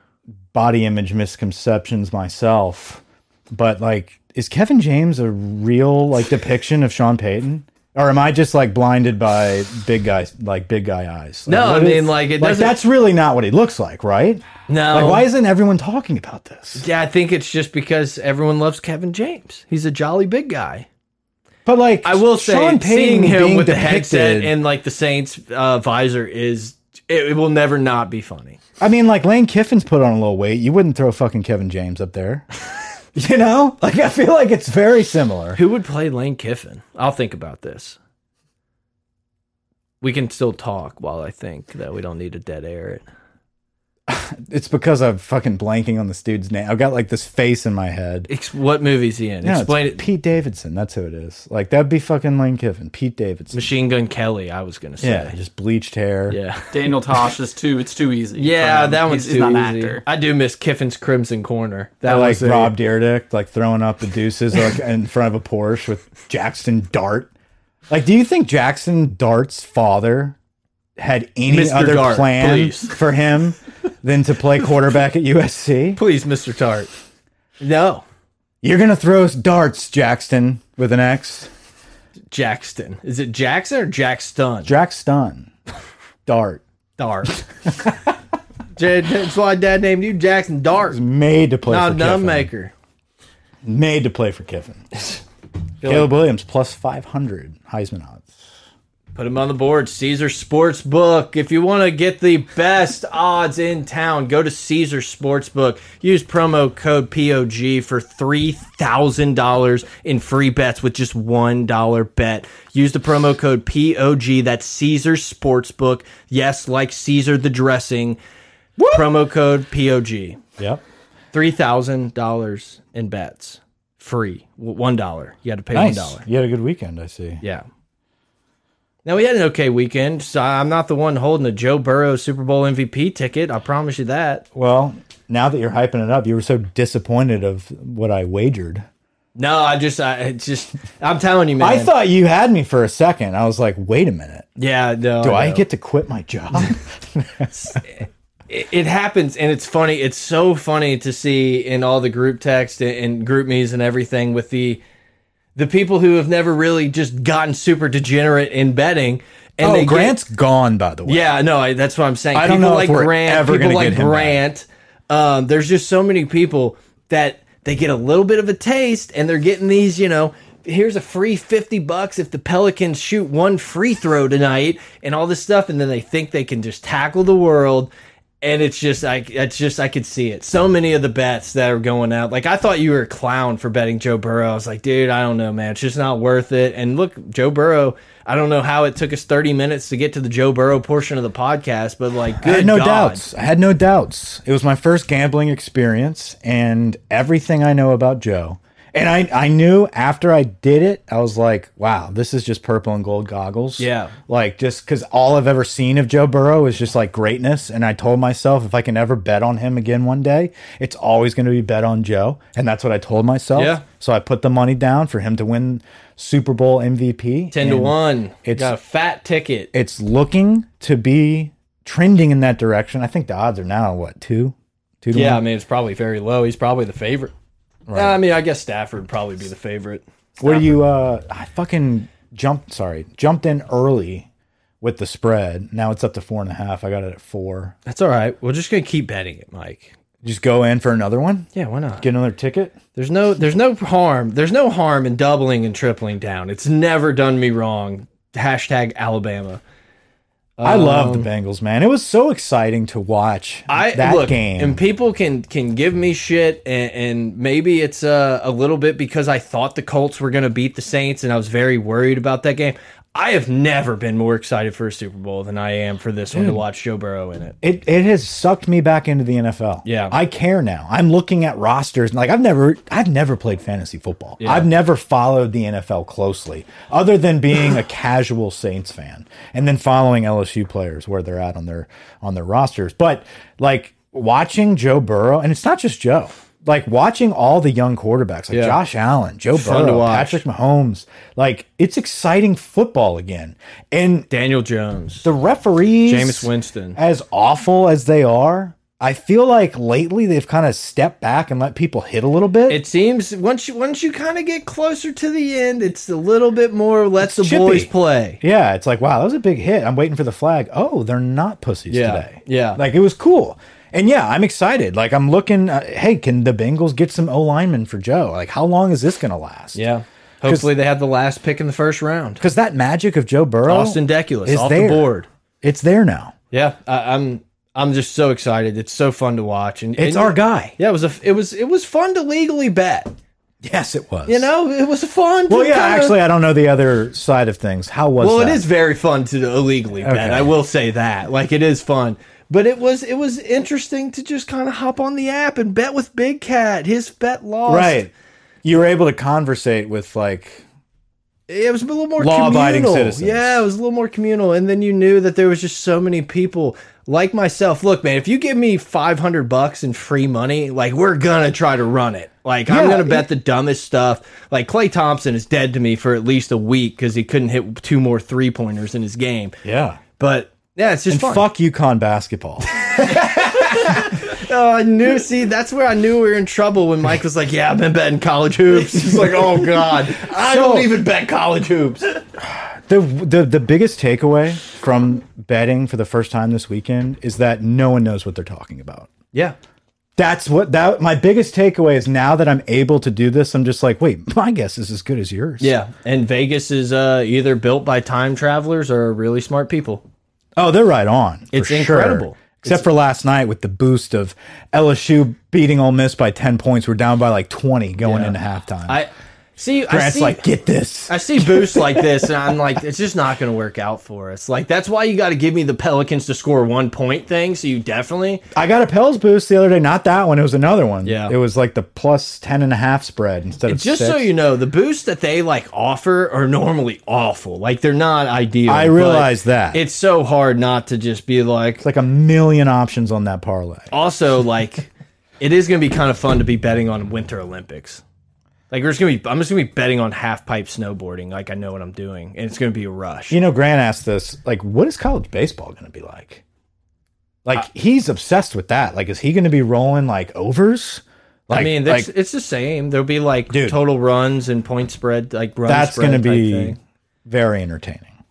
C: body image misconceptions myself. But like, is Kevin James a real like depiction of Sean Payton? Or am I just like blinded by big guy like big guy eyes? Like,
A: No, I
C: what
A: mean, like, it doesn't- Oh.
C: that's really not what he looks like, right?
A: No.
C: Like why isn't everyone talking about this?
A: Yeah, I think it's just because everyone loves Kevin James. He's a jolly big guy.
C: But like
A: I will say,
C: Sean Payton
A: seeing him
C: being
A: with the
C: depicted-
A: headset and like the Saints uh, visor is it, it will never not be funny.
C: I mean, like Lane Kiffin's put on a little weight. You wouldn't throw fucking Kevin James up there. you know? Like I feel like it's very similar.
A: Who would play Lane Kiffin? I'll think about this. We can still talk while I think that we don't need to dead air it.
C: It's because I'm fucking blanking on this dude's name. I've got like this face in my head.
A: Ex what movie's he in?
C: No, it's
A: Explain it.
C: Pete Davidson, that's who it is. Like that'd be fucking Lane Kiffin. Pete Davidson.
A: Machine Gun Kelly. I was gonna
C: yeah,
A: say.
C: just bleached hair.
A: Yeah.
B: Daniel Tosh is too. It's too easy.
A: Yeah,
B: for him.
A: that
B: He's-
A: one's
B: he's
A: too
B: not
A: easy.
B: an actor.
A: I do miss Kiffin's Crimson Corner. That
C: I like
A: was a-
C: Rob Dyrdek, like throwing up the deuces like in front of a Porsche with Jackson Dart. Like, do you think Jackson Dart's father had any
A: Mr.
C: other
A: Dart,
C: plan
A: please.
C: for him than to play quarterback at USC?
A: Please, Mr. Tart. No.
C: You're gonna throw us darts, Jackson, with an X.
A: Jackson. Is it Jackson or Jackstun?
C: Jack Stun. Dart.
A: Dart. Jed, that's why Dad named you Jackson Dart.
C: Made to play
A: Not
C: for
A: a dumb
C: Kiffin.
A: maker.
C: Made to play for Kiffin. Caleb Williams plus five hundred Heisman odds.
A: Put him on the board. Caesar Sportsbook. If you want to get the best odds in town, go to Caesar Sportsbook. Use promo code POG for $3,000 in free bets with just $1 bet. Use the promo code POG. That's Caesar Sportsbook. Yes, like Caesar the dressing. Promo code POG.
C: Yep.
A: three thousand dollars in bets, free W- one dollar. You had to pay
C: Nice.
A: one dollar.
C: You had a good weekend, I see.
A: Yeah. Now we had an okay weekend. So I'm not the one holding a Joe Burrow Super Bowl MVP ticket. I promise you that.
C: Well, now that you're hyping it up, you were so disappointed of what I wagered.
A: No, I just, I it just, I'm telling you, man.
C: I thought you had me for a second. I was like, wait a minute.
A: yeah, no.
C: Do I
A: no.
C: get to quit my job?
A: it, it happens and it's funny it's so funny to see in all the group text and, and group me's and everything with the the people who have never really just gotten super degenerate in betting and
C: oh,
A: they get-
C: Grant's gone, by the way.
A: Yeah, no, I, that's what I'm saying.
C: I
A: people
C: don't know
A: like
C: if we're
A: Grant,
C: ever
A: people
C: gonna
A: like
C: get him back.
A: Grant. Um, there's just so many people that they get a little bit of a taste, and they're getting these. You know, here's a free fifty bucks if the Pelicans shoot one free throw tonight, and all this stuff, and then they think they can just tackle the world. And it's just like it's just I could see it. So many of the bets that are going out. Like I thought you were a clown for betting Joe Burrow. I was like, dude, I don't know, man. It's just not worth it. And look, Joe Burrow. I don't know how it took us 30 minutes to get to the Joe Burrow portion of the podcast, but like, good
C: I had no
A: God.
C: doubts. I had no doubts. It was my first gambling experience, and everything I know about Joe. And I, I knew after I did it, I was like, wow, this is just purple and gold goggles.
A: Yeah.
C: Like, just because all I've ever seen of Joe Burrow is just like greatness. And I told myself if I can ever bet on him again one day, it's always going to be bet on Joe. And that's what I told myself.
A: Yeah.
C: So I put the money down for him to win Super Bowl MVP.
A: 10 to
C: And
A: 1. It's
C: it's-
A: got a fat ticket.
C: it's looking to be trending in that direction. I think the odds are now what two, two to
A: Yeah, I
C: one.
A: mean, it's probably very low. He's probably the favorite. I mean, I guess Stafford would probably be the favorite.
C: Where do you? Uh, I fucking jumped. Sorry, jumped in early with the spread. Now it's up to four and a half. I got it at four.
A: That's all right. We're just going to keep betting it, Mike.
C: Just go in for another one.
A: Yeah, why not?
C: Get another ticket.
A: There's no there's no harm. There's no harm in doubling and tripling down. It's never done me wrong. Hashtag Alabama.
C: I love the Bengals, man. It was so exciting to watch
A: Um, I
C: that
A: look,
C: game.
A: and people can can give me shit, and, and maybe it's uh, a little bit because I thought the Colts were going to beat the Saints, and I was very worried about that game. I have never been more excited for a Super Bowl than I am for this one to watch Joe Burrow in it.
C: it it has sucked me back into the NFL.
A: Yeah.
C: I care now. I'm looking at rosters and like I've never I've never played fantasy football. I've never followed the NFL closely, other than being a casual Saints fan and then following LSU players where they're at on their on their rosters. But like watching Joe Burrow, and it's not just Joe. Like watching all the young quarterbacks, like
A: Yeah.
C: Josh Allen, Joe
A: Fun to
C: Burrow,
A: watch.
C: Patrick Mahomes, like it's exciting football again. And
A: Daniel Jones,
C: the referees,
A: Jameis Winston.
C: as awful as they are, I feel like lately they've kind of stepped back and let people hit a little bit.
A: It seems once you once you kind of get closer to the end, it's a little bit more. Let the
C: chippy.
A: boys play.
C: yeah, it's like, wow, that was a big hit. I'm waiting for the flag. Oh, they're not pussies
A: Yeah,
C: today.
A: yeah.
C: Like it was cool. And yeah, I'm excited. Like I'm looking, uh, hey, can the Bengals get some O linemen for Joe? Like how long is this going to last?
A: Yeah. Hopefully they have the last pick in the first round.
C: Cuz that magic of Joe Burrow
A: Austin Deculus
C: is
A: off
C: there.
A: the board.
C: It's there now.
A: Yeah, I, I'm I'm just so excited. It's so fun to watch, and
C: It's
A: and-
C: our guy.
A: Yeah, it was a it was it was fun to legally bet.
C: Yes, it was.
A: You know, it was fun.
C: Well,
A: to
C: yeah,
A: kinda-
C: actually I don't know the other side of things. How was
A: well,
C: that?
A: it is very fun to illegally bet.
C: Okay.
A: I will say that. Like, it is fun. But it was it was interesting to just kind of hop on the app and bet with Big Cat. His bet lost.
C: Right. You were able to conversate with like
A: It was a little more
C: Law-abiding
A: communal.
C: citizens.
A: Yeah, it was a little more communal. And then you knew that there was just so many people like myself. Look, man, if you give me 500 bucks in free money, like we're going to try to run it. Like I'm
C: Yeah,
A: going to bet the dumbest stuff. Like Clay Thompson is dead to me for at least a week cuz he couldn't hit two more three-pointers in his game.
C: Yeah.
A: But yeah, it's just fun.
C: Fuck UConn basketball.
A: Oh, I knew. See, that's where I knew we were in trouble when Mike was like, "Yeah, I've been betting college hoops." He's like, "Oh God, I
C: So-
A: don't even bet college hoops."
C: the, the the biggest takeaway from betting for the first time this weekend is that no one knows what they're talking about.
A: Yeah,
C: That's what that my biggest takeaway is now that I'm able to do this, I'm just like, wait, my guess is as good as yours.
A: Yeah, and Vegas is uh, either built by time travelers or really smart people.
C: Oh, they're right on. for
A: It's
C: sure.
A: incredible.
C: Except for last night with the boost of LSU beating Ole Miss by ten points. We're down by like twenty going into halftime.
A: I see. I
C: Grant's
A: see,
C: like, get this.
A: I see boosts like this, and I'm like, it's just not going to work out for us. Like that's why you got to give me the Pelicans to score one point thing. So you definitely
C: I got a Pels boost the other day. Not that one. It was another one.
A: Yeah.
C: It was like the plus 10 and a half spread instead of
A: just
C: six.
A: so you know, the boosts that they like offer are normally awful. Like they're not ideal.
C: I
A: but
C: realize that.
A: it's so hard not to just be like.
C: It's like a million options on that parlay.
A: Also, like it is going to be kind of fun to be betting on Winter Olympics. Like we're just gonna be, I'm just gonna be betting on half pipe snowboarding. Like I know what I'm doing, and it's gonna be a rush.
C: You know, Grant asked this, like, what is college baseball going to be like? Like,
A: Uh,
C: he's obsessed with that. Like, is he going to be rolling like overs? Like,
A: I mean,
C: like,
A: that's it's the same. There'll be like
C: Dude.
A: total runs and point spread, like run
C: that's
A: going to
C: be very entertaining.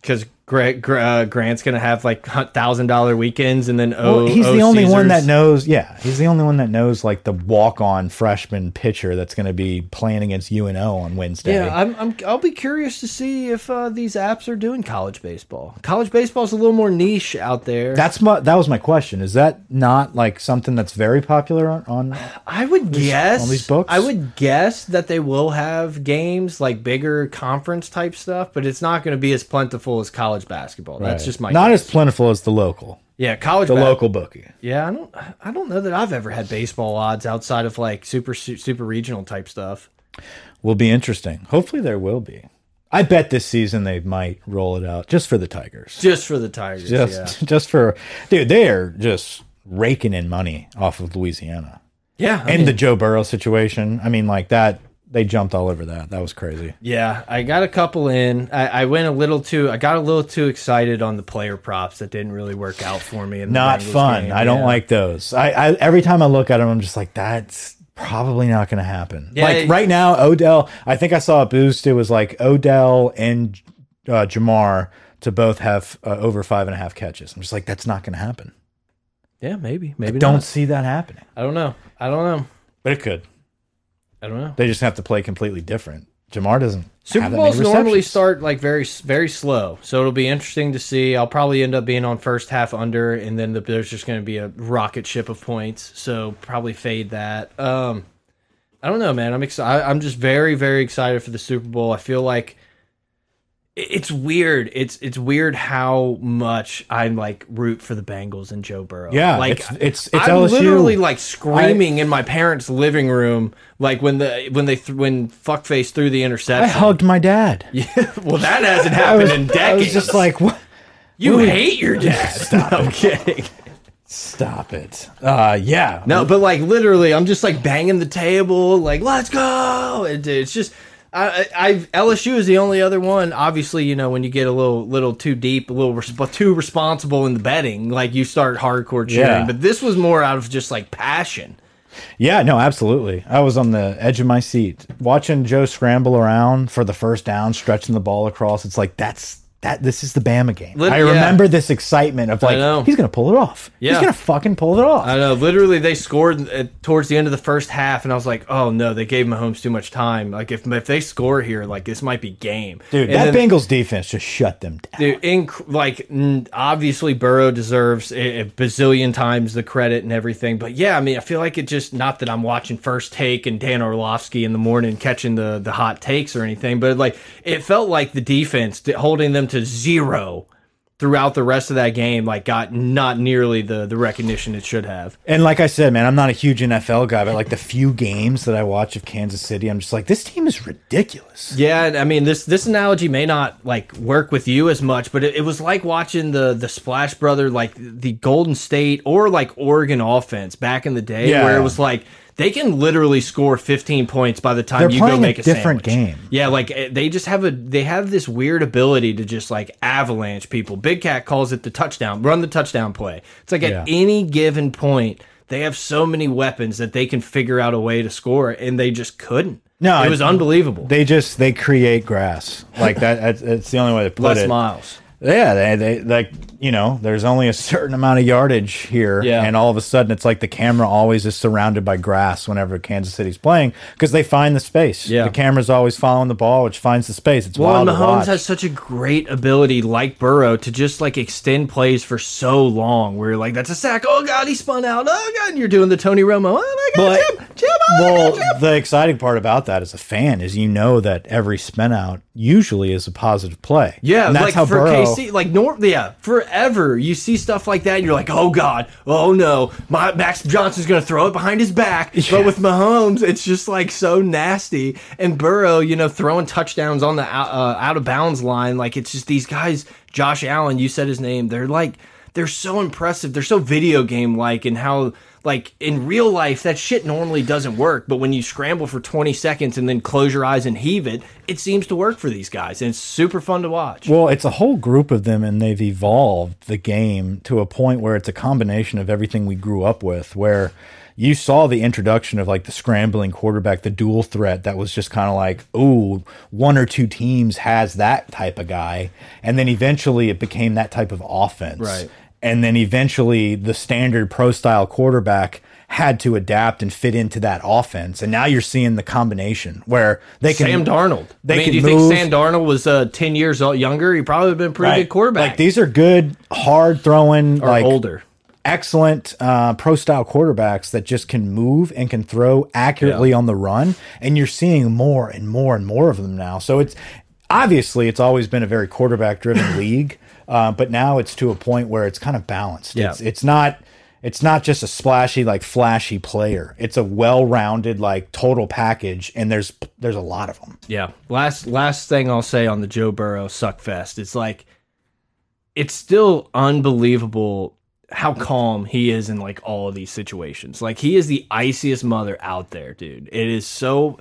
A: because Grant, uh, Grant's gonna have like thousand dollar weekends, and then oh,
C: Well, he's the only one that knows. Yeah, he's the only one that knows like the walk-on freshman pitcher that's going to be playing against UNO on Wednesday.
A: Yeah, I'm, I'm. I'll be curious to see if uh, these apps are doing college baseball. College baseball's a little more niche out there.
C: That's my that was my question. Is that not like something that's very popular on? on
A: I would guess
C: all these books?
A: I would guess that they will have games like bigger conference type stuff, but it's not going to be as plentiful as college basketball. That's just my
C: not as plentiful as the local,
A: yeah college
C: the
A: ba-
C: local bookie.
A: yeah. I don't I don't know that I've ever had baseball odds outside of like super su- super regional type stuff.
C: Will be interesting. Hopefully, there will be. I bet this season they might roll it out just for the Tigers.
A: Just for the Tigers,
C: Just just for dude, they are just raking in money off of Louisiana
A: yeah, yeah. I
C: and
A: mean,
C: the Joe Burrow situation. I mean, like that. They jumped all over that. That was crazy.
A: yeah. I got a couple in. I, I went a little too. I got a little too excited on the player props that didn't really work out for me. In the
C: Not
A: Bengals
C: fun.
A: game,
C: I don't
A: yeah.
C: like those. I, I every time I look at them, I'm just like, that's probably not going to happen.
A: Yeah,
C: like
A: it-
C: right now, Odell. I think I saw a boost. It was like Odell and uh, Jamar to both have uh, over five and a half catches. I'm just like, that's not going to happen.
A: Yeah, maybe maybe
C: Don't
A: not.
C: see that happening.
A: I don't know. I don't know.
C: But it could.
A: I don't know.
C: They just have to play completely different. Jamar doesn't
A: Super
C: have that
A: Bowls
C: many
A: normally
C: receptions.
A: start like very very slow, so it'll be interesting to see. I'll probably end up being on first half under, and then the, there's just going to be a rocket ship of points. So probably fade that. Um, I don't know, man. I'm excited. I'm just very very excited for the Super Bowl. I feel like it- it's weird. It's it's weird how much I like root for the Bengals and Joe Burrow.
C: Yeah,
A: like
C: it's- it's- it's
A: I'm
C: LSU.
A: literally like screaming in my parents' living room, like when the when they th when fuckface threw the interception.
C: I hugged my dad.
A: Well, that hasn't
C: I
A: happened
C: was,
A: in
C: I
A: decades.
C: was just like, what?
A: you hate your dad. Stop. I'm kidding.
C: Stop it. Uh, yeah.
A: No, but like literally, I'm just like banging the table, like let's go. It, it's just, I, I I've- LSU is the only other one. Obviously, you know when you get a little little too deep, a little resp too responsible in the betting, like you start hardcore cheering.
C: Yeah.
A: But this was more out of just like passion.
C: Yeah, no, absolutely. I was on the edge of my seat watching Joe scramble around for the first down, stretching the ball across. It's like that's that. This is the Bama game.
A: Lit-
C: I
A: yeah.
C: remember this excitement of
A: know.
C: like he's gonna pull it off.
A: Yeah.
C: he's gonna fucking pull it off.
A: I know. Literally, they scored uh towards the end of the first half, and I was like, "Oh no, they gave Mahomes too much time. Like if if they score here, like this might be game."
C: Dude,
A: And
C: that
A: then-
C: Bengals defense just shut them down.
A: Dude, inc like n- obviously Burrow deserves a, a bazillion times the credit and everything, but yeah, I mean, I feel like it just not that I'm watching First Take and Dan Orlovsky in the morning catching the the hot takes or anything, but like it felt like the defense d- holding them to zero throughout the rest of that game, like got not nearly the the recognition it should have.
C: And like I said, man, I'm not a huge NFL guy, but like the few games that I watch of Kansas City, I'm just like, this team is ridiculous.
A: Yeah, and I mean this this analogy may not like work with you as much, but it, it was like watching the the Splash Brother, like the Golden State or like Oregon offense back in the day,
C: Yeah.
A: where it was like they can literally score 15 points by the time
C: They're
A: you go
C: playing a
A: make a,
C: different
A: sandwich.
C: game.
A: Yeah, like eh, they just have a they have this weird ability to just like avalanche people. Big Cat calls it the touchdown, run the touchdown play. It's like
C: Yeah.
A: at any given point. They have so many weapons that they can figure out a way to score, and they just couldn't.
C: No,
A: it
C: it-
A: was unbelievable.
C: They just they create grass like that. That's, that's the only way to put
A: Les
C: it.
A: Miles.
C: Yeah, they, they like you know, there's only a certain amount of yardage here,
A: Yeah.
C: and all of a sudden it's like the camera always is surrounded by grass whenever Kansas City's playing because they find the space.
A: Yeah.
C: the camera's always following the ball, which finds the space. It's
A: Well,
C: wild
A: and
C: to
A: Mahomes
C: watch.
A: has such a great ability, like Burrow, to just like extend plays for so long. Where you're like, that's a sack. Oh God, he spun out. Oh God, and you're doing the Tony Romo. Oh my God,
C: But-
A: Jim, Jim. Oh, my God, Jim.
C: well, the exciting part about that as a fan is you know that every spin out usually is a positive play.
A: Yeah,
C: and that's
A: like
C: how
A: for
C: Burrow.
A: KC, like nor yeah, forever. You see stuff like that, and you're like, oh God, oh no, my Max Johnson's gonna throw it behind his back.
C: Yeah.
A: But with Mahomes, it's just like so nasty. And Burrow, you know, throwing touchdowns on the out, uh, out of bounds line, like it's just these guys. Josh Allen, you said his name. They're like they're so impressive. They're so video game like, and how like in real life that shit normally doesn't work. But when you scramble for 20 seconds and then close your eyes and heave it, it seems to work for these guys, and it's super fun to watch.
C: Well, it's a whole group of them, and they've evolved the game to a point where it's a combination of everything we grew up with. Where you saw the introduction of like the scrambling quarterback, the dual threat that was just kind of like, ooh, one or two teams has that type of guy, and then eventually it became that type of offense.
A: Right.
C: And then eventually the standard pro style quarterback had to adapt and fit into that offense. And now you're seeing the combination where they can
A: Sam Darnold.
C: They
A: I mean,
C: can
A: do you
C: move.
A: think Sam Darnold was uh, ten years old, younger? He probably would have been a pretty
C: Right.
A: good quarterback.
C: Like these are good, hard throwing,
A: or
C: like
A: older.
C: excellent uh, pro style quarterbacks that just can move and can throw accurately on the run. And you're seeing more and more and more of them now. So it's obviously it's always been a very quarterback driven league, uh, but now it's to a point where it's kind of balanced.
A: Yeah.
C: It's it's not. It's not just a splashy, like flashy player. It's a well-rounded, like total package, and there's there's a lot of them.
A: Yeah. Last last thing I'll say on the Joe Burrow suck fest. It's like it's still unbelievable how calm he is in like all of these situations. Like he is the iciest mother out there, dude. It is so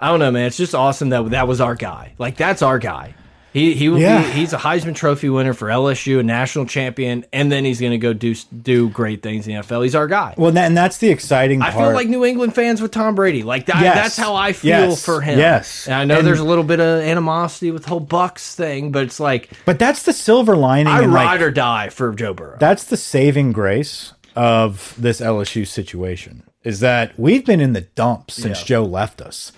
A: I don't know, man. It's just awesome that that was our guy. Like that's our guy. He he will
C: Yeah.
A: be, he's a Heisman Trophy winner for LSU, a national champion, and then he's gonna go do do great things in the NFL. He's our guy.
C: Well, that, and that's the exciting
A: I
C: part.
A: feel like New England fans with Tom Brady. Like that,
C: Yes.
A: that's how I feel
C: Yes.
A: for him.
C: Yes.
A: And I know
C: And-
A: there's a little bit of animosity with the whole Bucks thing, but it's like
C: but that's the silver lining.
A: I
C: in, like,
A: ride or die for Joe Burrow.
C: that's the saving grace of this LSU situation is that we've been in the dumps since Joe left us.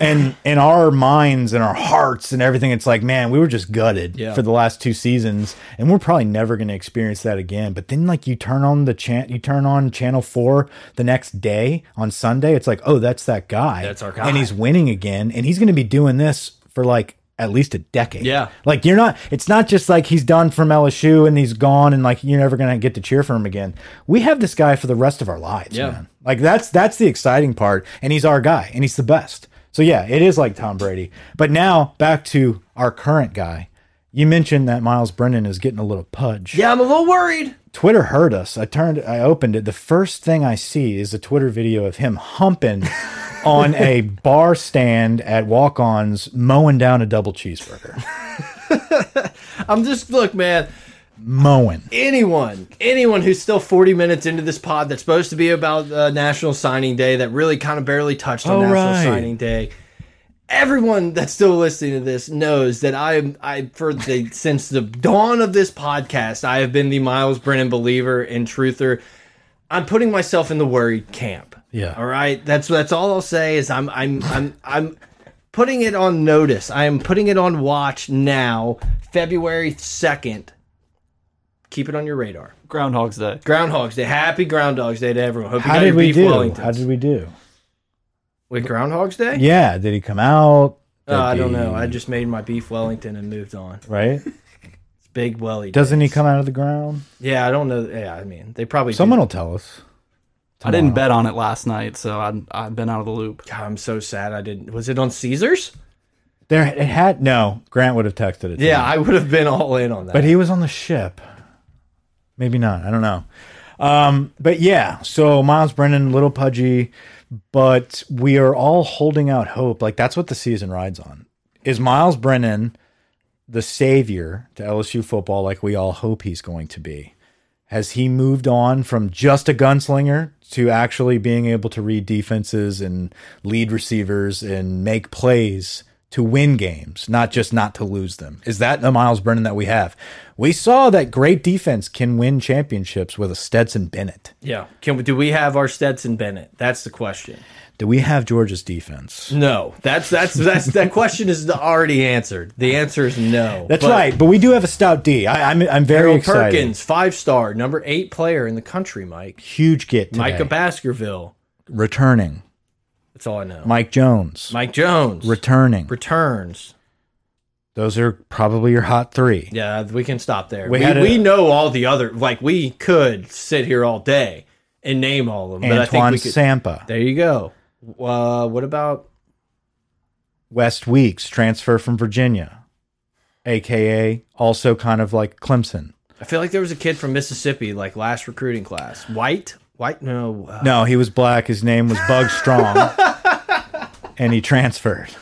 C: and in our minds and our hearts and everything, it's like, man, we were just gutted
A: Yeah.
C: for the last two seasons, and we're probably never going to experience that again. But then, like, you turn on the chan you turn on Channel Four the next day on Sunday, it's like, oh, that's that guy,
A: That's our guy.
C: and he's winning again, and he's going to be doing this for like at least a decade.
A: Yeah.
C: like you're not. It's not just like he's done from LSU and he's gone, and like you're never going to get to cheer for him again. We have this guy for the rest of our lives,
A: Yeah.
C: man. Like that's that's the exciting part, and he's our guy, and he's the best. So yeah, it is like Tom Brady. But now back to our current guy. You mentioned that Miles Brennan is getting a little pudge.
A: Yeah, I'm a little worried.
C: Twitter heard us. I turned, I opened it. The first thing I see is a Twitter video of him humping on a bar stand at Walk On's, mowing down a double cheeseburger.
A: I'm just look, man.
C: Mowing.
A: Anyone, anyone who's still 40 minutes into this pod that's supposed to be about uh, National Signing Day that really kind of barely touched on
C: Oh,
A: National
C: right.
A: Signing Day. Everyone that's still listening to this knows that I am I for the since the dawn of this podcast, I have been the Miles Brennan believer and truther. I'm putting myself in the worried camp.
C: Yeah.
A: All right. That's that's all I'll say is I'm I'm I'm I'm putting it on notice. I am putting it on watch now, February 2nd. Keep it on your radar.
B: Groundhog's Day.
A: Groundhog's Day. Happy Groundhog's Day to everyone. Hope you
C: How
A: got
C: did
A: your
C: we
A: beef
C: do?
A: Wellingtons.
C: How did we do?
A: Wait, Groundhog's Day?
C: Yeah. Did he come out?
A: Uh, I don't
C: Did he-
A: know. I just made my beef Wellington and moved on.
C: Right?
A: It's big welly.
C: Doesn't he
A: days.
C: come out of the ground?
A: Yeah, I don't know. Yeah, I mean, they probably.
C: Someone
A: do.
C: will tell us.
B: I didn't bet on it last night, so I'm, I've been out of the loop.
A: God, I'm so sad. I didn't. Was it on Caesars?
C: There it had no. Grant would have texted it. to
A: Yeah,
C: me.
A: I would have been all in on that.
C: But he was on the ship. Maybe not. I don't know. Um, but yeah, so Miles Brennan, little pudgy, but we are all holding out hope. Like that's what the season rides on. Is Miles Brennan the savior to LSU football like we all hope he's going to be? Has he moved on from just a gunslinger to actually being able to read defenses and lead receivers and make plays to win games, not just not to lose them? Is that the Miles Brennan that we have? We saw that great defense can win championships with a Stetson Bennett.
A: yeah, can we, do we have our Stetson Bennett? That's the question.
C: Do we have Georgia's defense?
A: No, that's that's that's that question is already answered. The answer is no.
C: That's
A: But
C: right, but we do have a stout D. I, I'm I'm very
A: Harold
C: excited.
A: Perkins, five star, number eight player in the country. Mike,
C: Huge get today.
A: Micah Baskerville.
C: returning.
A: That's all I know.
C: Mike Jones
A: Mike Jones
C: returning.
A: returns.
C: Those are probably your hot three.
A: Yeah, we can stop there.
C: We
A: We,
C: had a-
A: we know all the other. Like we could sit here all day and name all of them. but I think
C: Antoine
A: we could.
C: Sampa,
A: there you go. Uh, what about
C: West Weeks, transfer from Virginia, aka also kind of like Clemson.
A: I feel like there was a kid from Mississippi, like last recruiting class. White, white, no, uh,
C: No, he was black. His name was Bug Strong, and he transferred.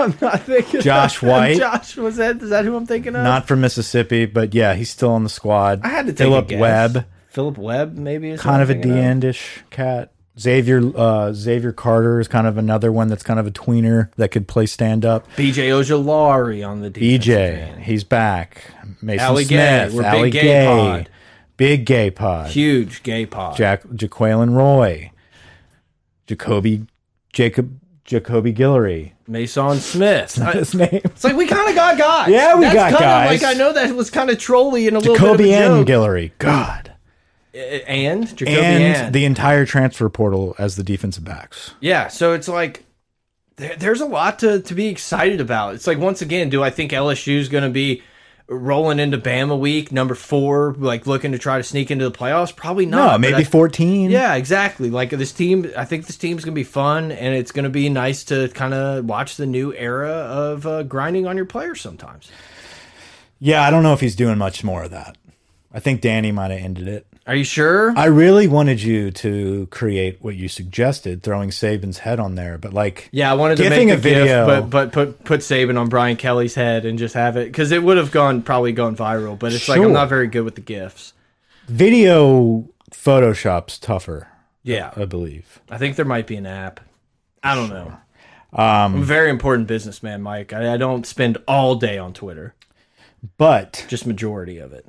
A: I'm not thinking. of
C: Josh
A: that.
C: White?
A: Josh was that? Is that who I'm thinking of?
C: Not from Mississippi, but yeah, he's still on the squad.
A: I had to take
C: Philip
A: a guess.
C: Webb,
A: Philip Webb, maybe is who
C: kind
A: I'm
C: of a D
A: thinking
C: endish cat. Xavier uh, Xavier Carter is kind of another one that's kind of a tweener that could play stand up.
A: B.J. Ojolari on the defensive
C: BJ,
A: end.
C: he's back. Mason
A: Allie Gay.
C: Smith,
A: We're big
C: Allie
A: gay
C: Gay,
A: pod.
C: big gay pod.
A: huge gay pod.
C: Jack Jaqueline Roy, Jacoby Jacob Jacoby Guillory.
A: Mason Smith. I-
C: His name
A: it's like we kind of got guys.
C: Yeah, we
A: That's
C: got
A: kinda
C: guys.
A: Like I know that was kind of trolly and a little
C: Jacoby
A: bit of a
C: and
A: joke.
C: Guillory. God,
A: A- and Jacoby
C: and
A: and
C: the entire transfer portal as the defensive backs.
A: Yeah, so it's like there, there's a lot to, to be excited about. It's like once again, do I think LSU is going to be rolling into Bama week number four, like looking to try to sneak into the playoffs? Probably
C: No,
A: not. but
C: maybe
A: I-
C: fourteen.
A: Yeah, exactly. Like this team, I think this team's going to be fun, and it's going to be nice to kind of watch the new era of uh, grinding on your players sometimes.
C: yeah. I don't know if he's doing much more of that. I think Danny might have ended it.
A: Are you sure?
C: I really wanted you to create what you suggested, throwing Saban's head on there, but like,
A: yeah, I wanted to
C: Gifting
A: make a,
C: a video.
A: gift, but but put put Saban on Brian Kelly's head and just have it because it would have gone probably gone viral. But it's like
C: Sure.
A: I'm not very good with the gifts.
C: video Photoshop's tougher,
A: Yeah,
C: I believe.
A: I think there might be an app. I don't know. Um, I'm a very important businessman, Mike. I, I don't spend all day on Twitter,
C: But
A: just majority of it.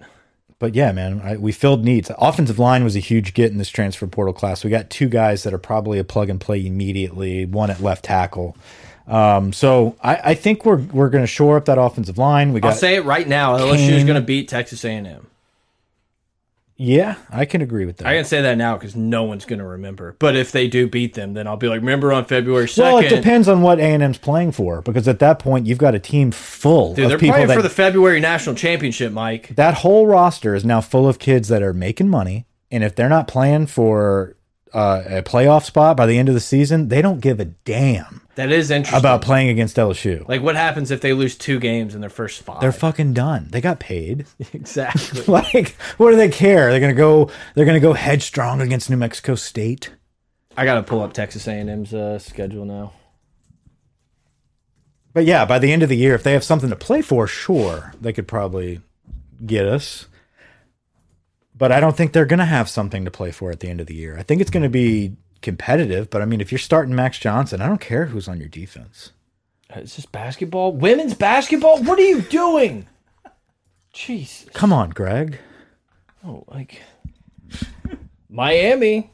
C: but yeah, man, I, we filled needs. Offensive line was a huge get in this transfer portal class. We got two guys that are probably a plug and play immediately. One at left tackle. Um, so I, I think we're we're going to shore up that offensive line. We
A: I'll
C: got
A: say it right now. LSU is going to beat Texas A&M.
C: yeah, I can agree with that.
A: I can say that now because no one's going to remember. But if they do beat them, then I'll be like, remember on February second.
C: well, it depends on what A and M's playing for because at that point you've got a team full
A: Dude, they're
C: of people
A: playing
C: that
A: for the February national championship, Mike.
C: that whole roster is now full of kids that are making money, and if they're not playing for uh, a playoff spot by the end of the season, they don't give a damn
A: That is interesting.
C: about playing against LSU.
A: like what happens if they lose two games in their first 5
C: They're fucking done. They got paid.
A: exactly.
C: like, what do they care? They're gonna go. They're gonna go headstrong against New Mexico State.
A: I got to pull up Texas A&M's uh, schedule now.
C: But yeah, by the end of the year, if they have something to play for, sure, they could probably get us. But I don't think they're going to have something to play for at the end of the year. I think it's going to be competitive. But I mean, if you're starting Max Johnson, I don't care who's on your defense.
A: Uh, Is this basketball? Women's basketball? What are you doing? Jeez.
C: Come on, Greg.
A: Oh, like Miami.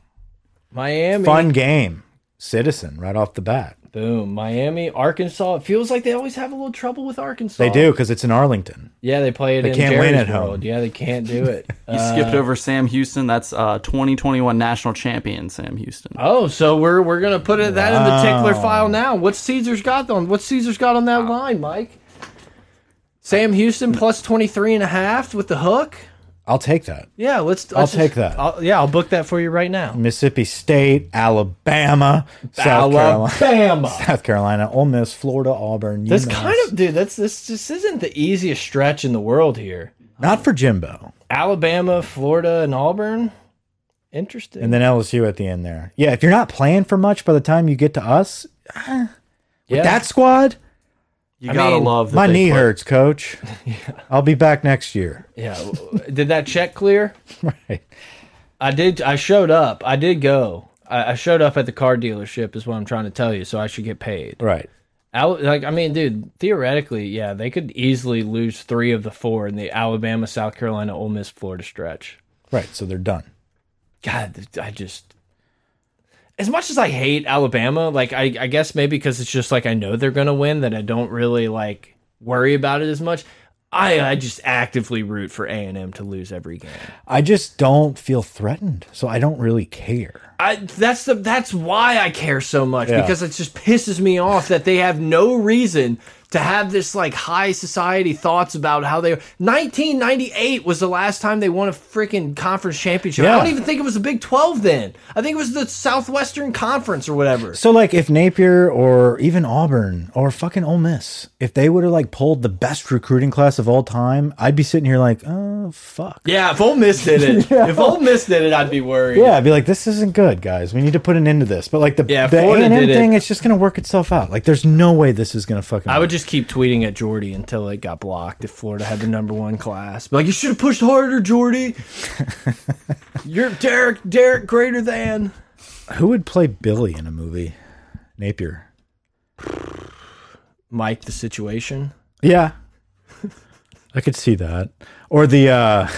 A: Miami.
C: Fun game. Citizen right off the bat.
A: Boom. Miami, Arkansas. It feels like they always have a little trouble with Arkansas.
C: They do because it's in Arlington.
A: Yeah, they play it
C: They
A: in
C: can't win
A: Jerry's
C: at home.
A: world. Yeah, they can't do it.
B: You
C: Uh,
B: skipped over Sam Houston. That's uh, 2021 national champion Sam Houston.
A: Oh, so we're we're gonna put it, that in the tickler file now. What's Caesar's got on? What's Caesar's got on that line, Mike? Sam Houston plus 23 and a half with the hook.
C: I'll take that.
A: Yeah, let's.
C: I'll
A: let's
C: take that.
A: I'll, yeah, I'll book that for you right now.
C: Mississippi State, Alabama, South Carolina,
A: Alabama.
C: South Carolina, Ole Miss, Florida, Auburn.
A: This
C: UMass.
A: kind of dude. That's this. This isn't the easiest stretch in the world here.
C: not for Jimbo.
A: Alabama, Florida, and Auburn. Interesting.
C: and then LSU at the end there. Yeah, if you're not playing for much by the time you get to us,
A: yeah.
C: that squad,
B: You
A: I
B: gotta
A: mean,
B: love that
C: my
B: they
C: knee
B: play-
C: hurts, coach. I'll be back next year.
A: yeah. w- Did that check clear?
C: Right.
A: I did. I showed up. I did go. I, I showed up at the car dealership. Is what I'm trying to tell you. So I should get paid.
C: Right.
A: Al like I mean, dude. Theoretically, yeah, they could easily lose three of the four in the Alabama, South Carolina, Ole Miss, Florida stretch.
C: Right. So they're done.
A: God, th- I just. As much as I hate Alabama, like I, I guess maybe because it's just like I know they're gonna win that I don't really like worry about it as much. I, I just actively root for A and M to lose every game.
C: I just don't feel threatened. So I don't really care.
A: I that's the that's why I care so much
C: Yeah.
A: because it just pisses me off that they have no reason to have this like high society thoughts about how they 1998 was the last time they won a freaking conference championship. I
C: Yeah.
A: don't even think it was the Big 12 then. I think it was the Southwestern Conference or whatever.
C: So like if Napier or even Auburn or fucking Ole Miss, if they would have like pulled the best recruiting class of all time, I'd be sitting here like, oh fuck.
A: Yeah, if Ole Miss did it, if Ole Miss did it, I'd be worried.
C: Yeah, I'd be like, this isn't good, guys. We need to put an end to this. But like the
A: Yeah,
C: the
A: Florida
C: A&M
A: did it.
C: thing, it's just gonna work itself out. Like there's no way this is gonna fucking.
A: I would just keep tweeting at Jordy until it got blocked. If Florida had the number one class, Be like you should have pushed harder, Jordy. You're Derek, Derek greater than.
C: Who would play Billy in a movie? Napier.
A: Mike the situation.
C: Yeah. I could see that. Or the uh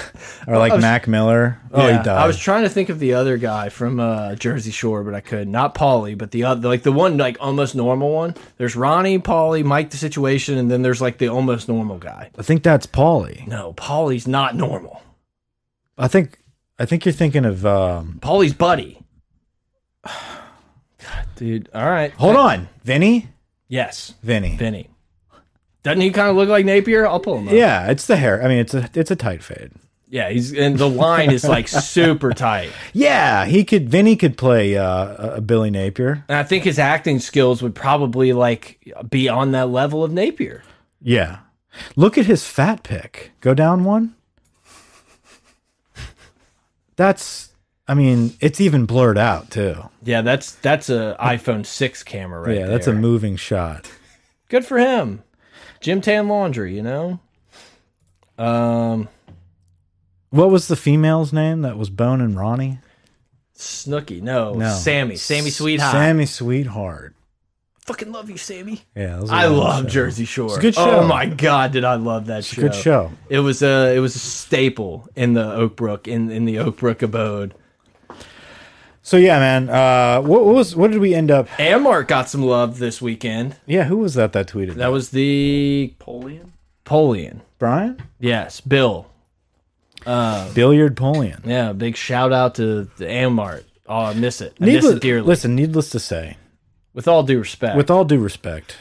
C: or like Mac Miller. Oh, he died.
A: I was trying to think of the other guy from uh, Jersey Shore, but I could not Paulie, but the other like the one like almost normal one. There's Ronnie, Paulie, Mike the situation, and then there's like the almost normal guy.
C: I think that's Paulie.
A: No, Paulie's not normal.
C: I think I think you're thinking of um
A: Paulie's buddy. God, dude. All right.
C: Hold on. Vinny?
A: Yes.
C: Vinny.
A: Benny. Doesn't he kind of look like Napier? I'll pull him up.
C: Yeah, it's the hair. I mean, it's a it's a tight fade.
A: Yeah, he's and the line is like super tight.
C: Yeah, he could Vinny could play uh, a Billy Napier.
A: And I think his acting skills would probably like be on that level of Napier.
C: Yeah. Look at his fat pick. Go down one. That's I mean, it's even blurred out too.
A: Yeah, that's that's a iPhone 6 camera right
C: yeah, that's a
A: there.
C: moving shot.
A: Good for him. Jim Tan Laundry, you know? Um
C: What was the female's name that was Bone and Ronnie?
A: Snooky, no, Sammy, Sammy
C: S-
A: Sweetheart.
C: Sammy Sweetheart.
A: Fucking love you, Sammy.
C: Yeah, that was a
A: I
C: good
A: love
C: show.
A: Jersey Shore.
C: a good show.
A: Oh my god, did I love that show?
C: a good show.
A: It was a it was a staple in the Oak Brook in in the Oak Brook abode.
C: So yeah, man. Uh, what, what was what did we end up?
A: Amark got some love this weekend.
C: Yeah, who was that that tweeted?
A: That was the
B: Napoleon?
A: Polian.
C: Brian
A: Yes, Bill.
C: Billiard Polian.
A: Yeah, big shout out to the Amart. Oh, I miss it. I miss it dearly.
C: listen, needless to say,
A: With all due respect,
C: with all due respect,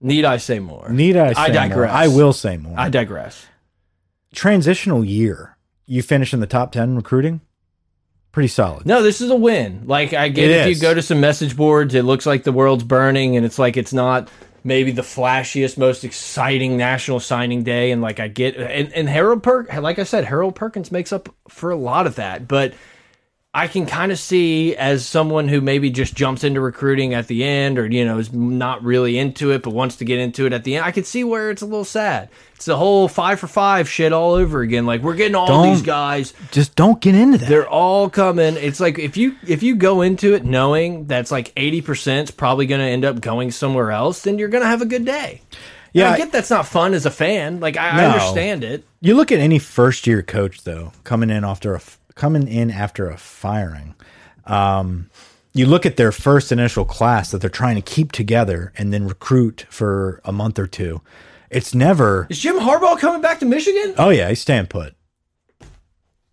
A: need I say more?
C: need I? Say
A: I digress.
C: More? I will say more.
A: I digress.
C: Transitional year. You finish in the top ten recruiting. Pretty solid.
A: No, this is a win. Like I get
C: It
A: if
C: is.
A: you go to some message boards, it looks like the world's burning and it's like it's not maybe the flashiest, most exciting national signing day and like I get and, and Harold Perk like I said, Harold Perkins makes up for a lot of that. But I can kind of see as someone who maybe just jumps into recruiting at the end or, you know, is not really into it but wants to get into it at the end. I can see where it's a little sad. It's the whole five for five shit all over again. Like, we're getting all these
C: Don't-
A: guys.
C: Just don't get into that.
A: They're all coming. It's like if you if you go into it knowing that's like eighty percent is probably going to end up going somewhere else, then you're going to have a good day. Yeah,
C: Yeah,
A: I get that's not fun as a fan. Like I, I
C: No.
A: understand it.
C: You look at any first year coach though coming in after a coming in after a firing. Um, you look at their first initial class that they're trying to keep together and then recruit for a month or two. It's never.
A: Is Jim Harbaugh coming back to Michigan?
C: Oh yeah, he's staying put.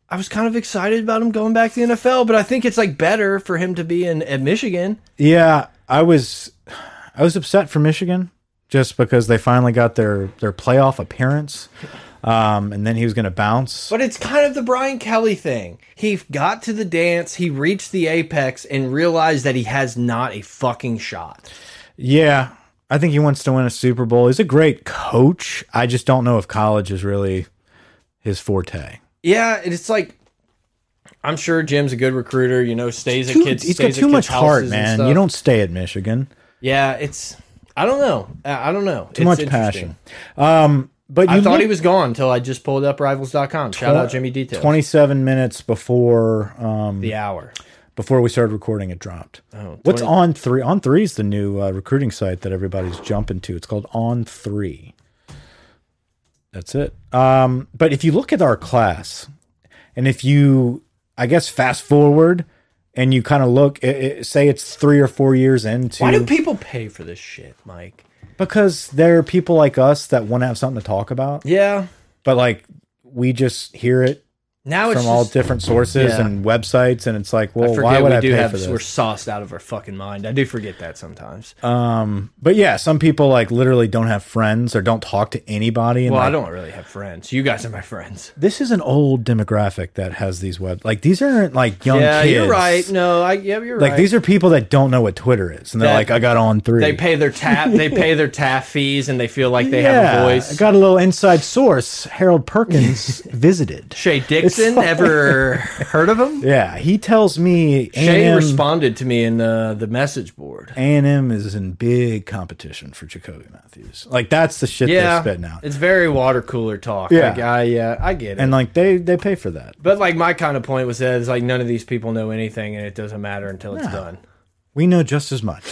A: I was kind of excited about him going back to the NFL, but I think it's like better for him to be in at Michigan.
C: Yeah, I was, I was upset for Michigan just because they finally got their their playoff appearance, um, and then he was going to bounce.
A: But it's kind of the Brian Kelly thing. He got to the dance, he reached the apex, and realized that he has not a fucking shot.
C: Yeah, I think he wants to win a Super Bowl. He's a great coach. I just don't know if college is really his forte.
A: Yeah, and it's like I'm sure Jim's a good recruiter. You know, stays at
C: Too-
A: kids.
C: he's got
A: stays at
C: too
A: kids'
C: much heart,
A: houses and
C: man.
A: stuff.
C: You don't stay at Michigan.
A: Yeah, it's. I don't know. I I don't know.
C: Too much passion. Um, but you
A: I thought
C: look-
A: he was gone until I just pulled up rivals.com. Shout out Jimmy Details.
C: twenty-seven minutes before um,
A: the hour.
C: before we started recording, it dropped.
A: Oh,
C: What's on three? On three is the new uh, recruiting site that everybody's jumping to. It's called On Three. That's it. Um, but if you look at our class, and if you, I guess, fast forward and you kind of look, i i say it's three or four years into,
A: Why do people pay for this shit, Mike?
C: because there are people like us that want to have something to talk about,
A: Yeah.
C: but like we just hear it
A: Now it's
C: from all
A: just-
C: different sources
A: Yeah.
C: and websites, and it's like, well,
A: I
C: why
A: forget
C: would
A: we
C: I
A: do
C: pay
A: have
C: for this?
A: we're sauced out of our fucking mind. I do forget that sometimes.
C: Um, But yeah, some people like literally don't have friends or don't talk to anybody. And
A: well, I
C: like,
A: don't really have friends. You guys are my friends.
C: This is an old demographic that has these web. Like these aren't like young
A: Yeah,
C: kids.
A: you're right. No, I yeah, you're
C: Like
A: right.
C: these are people that don't know what Twitter is, and they're
A: That-
C: like, "I got on three.
A: they pay their tap they pay their tap fees and they feel like they have a voice.
C: I got a little inside source. Harold Perkins visited.
A: Shay Dixon, ever heard of him?
C: Yeah, he tells me
A: Shay
C: A&M
A: responded to me in uh, the, the message board.
C: A&M is in big competition for Jacoby Matthews. Like that's the shit
A: Yeah,
C: they're spitting out.
A: it's very water cooler talk.
C: Yeah.
A: like, I uh, I get it.
C: And like they they pay for that.
A: but like my kind of point was that it's like none of these people know anything, and it doesn't matter until it's done.
C: We know just as much.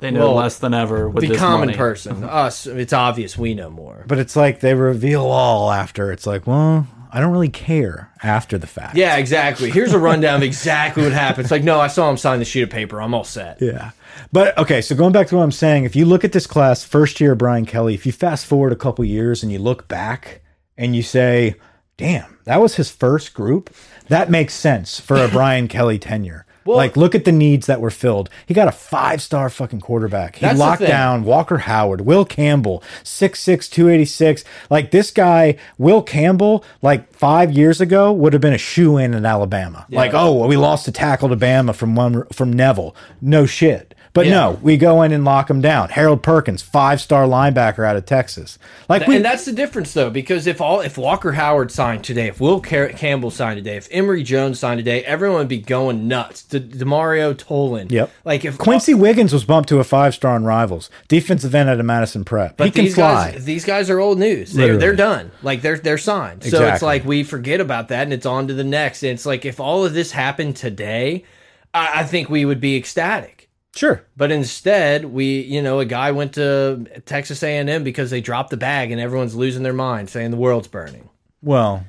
B: They know
A: Well,
B: less than ever with
A: The
B: this
A: common
B: money.
A: person, us, it's obvious we know more.
C: But it's like they reveal all after. It's like, well, I don't really care after the fact.
A: Yeah, exactly. Here's a rundown of exactly what happened. It's like, no, I saw him sign the sheet of paper. I'm all set.
C: Yeah. But okay, so going back to what I'm saying, if you look at this class, first year Brian Kelly, if you fast forward a couple years and you look back and you say, damn, that was his first group, that makes sense for a Brian Kelly tenure. like, look at the needs that were filled. He got a five star fucking quarterback. He
A: That's the
C: locked
A: thing.
C: down Walker Howard, Will Campbell, 6'6, 286. Like, this guy, Will Campbell, like five years ago, would have been a shoe in in Alabama. Like, oh, well, we lost a tackle to Bama from, one, from Neville. No shit. But no, we go in and lock him down. Harold Perkins, five star linebacker out of Texas. Like, we,
A: and that's the difference though because if all if Walker Howard signed today, if Will Car Campbell signed today, if Emory Jones signed today, everyone would be going nuts. De Demario Tolan,
C: Yep.
A: Like if
C: Quincy Wiggins was bumped to a five star on Rivals. Defensive end out of Madison Prep. he
A: but
C: can
A: these
C: fly.
A: guys, these guys are old news. They're,
C: Literally.
A: they're done. Like they're they're signed. So it's
C: Exactly.
A: like we forget about that and it's on to the next. And it's like if all of this happened today, I, I think we would be ecstatic.
C: Sure.
A: But instead, we, you know, a guy went to Texas A&M because they dropped the bag and everyone's losing their mind saying the world's burning.
C: Well,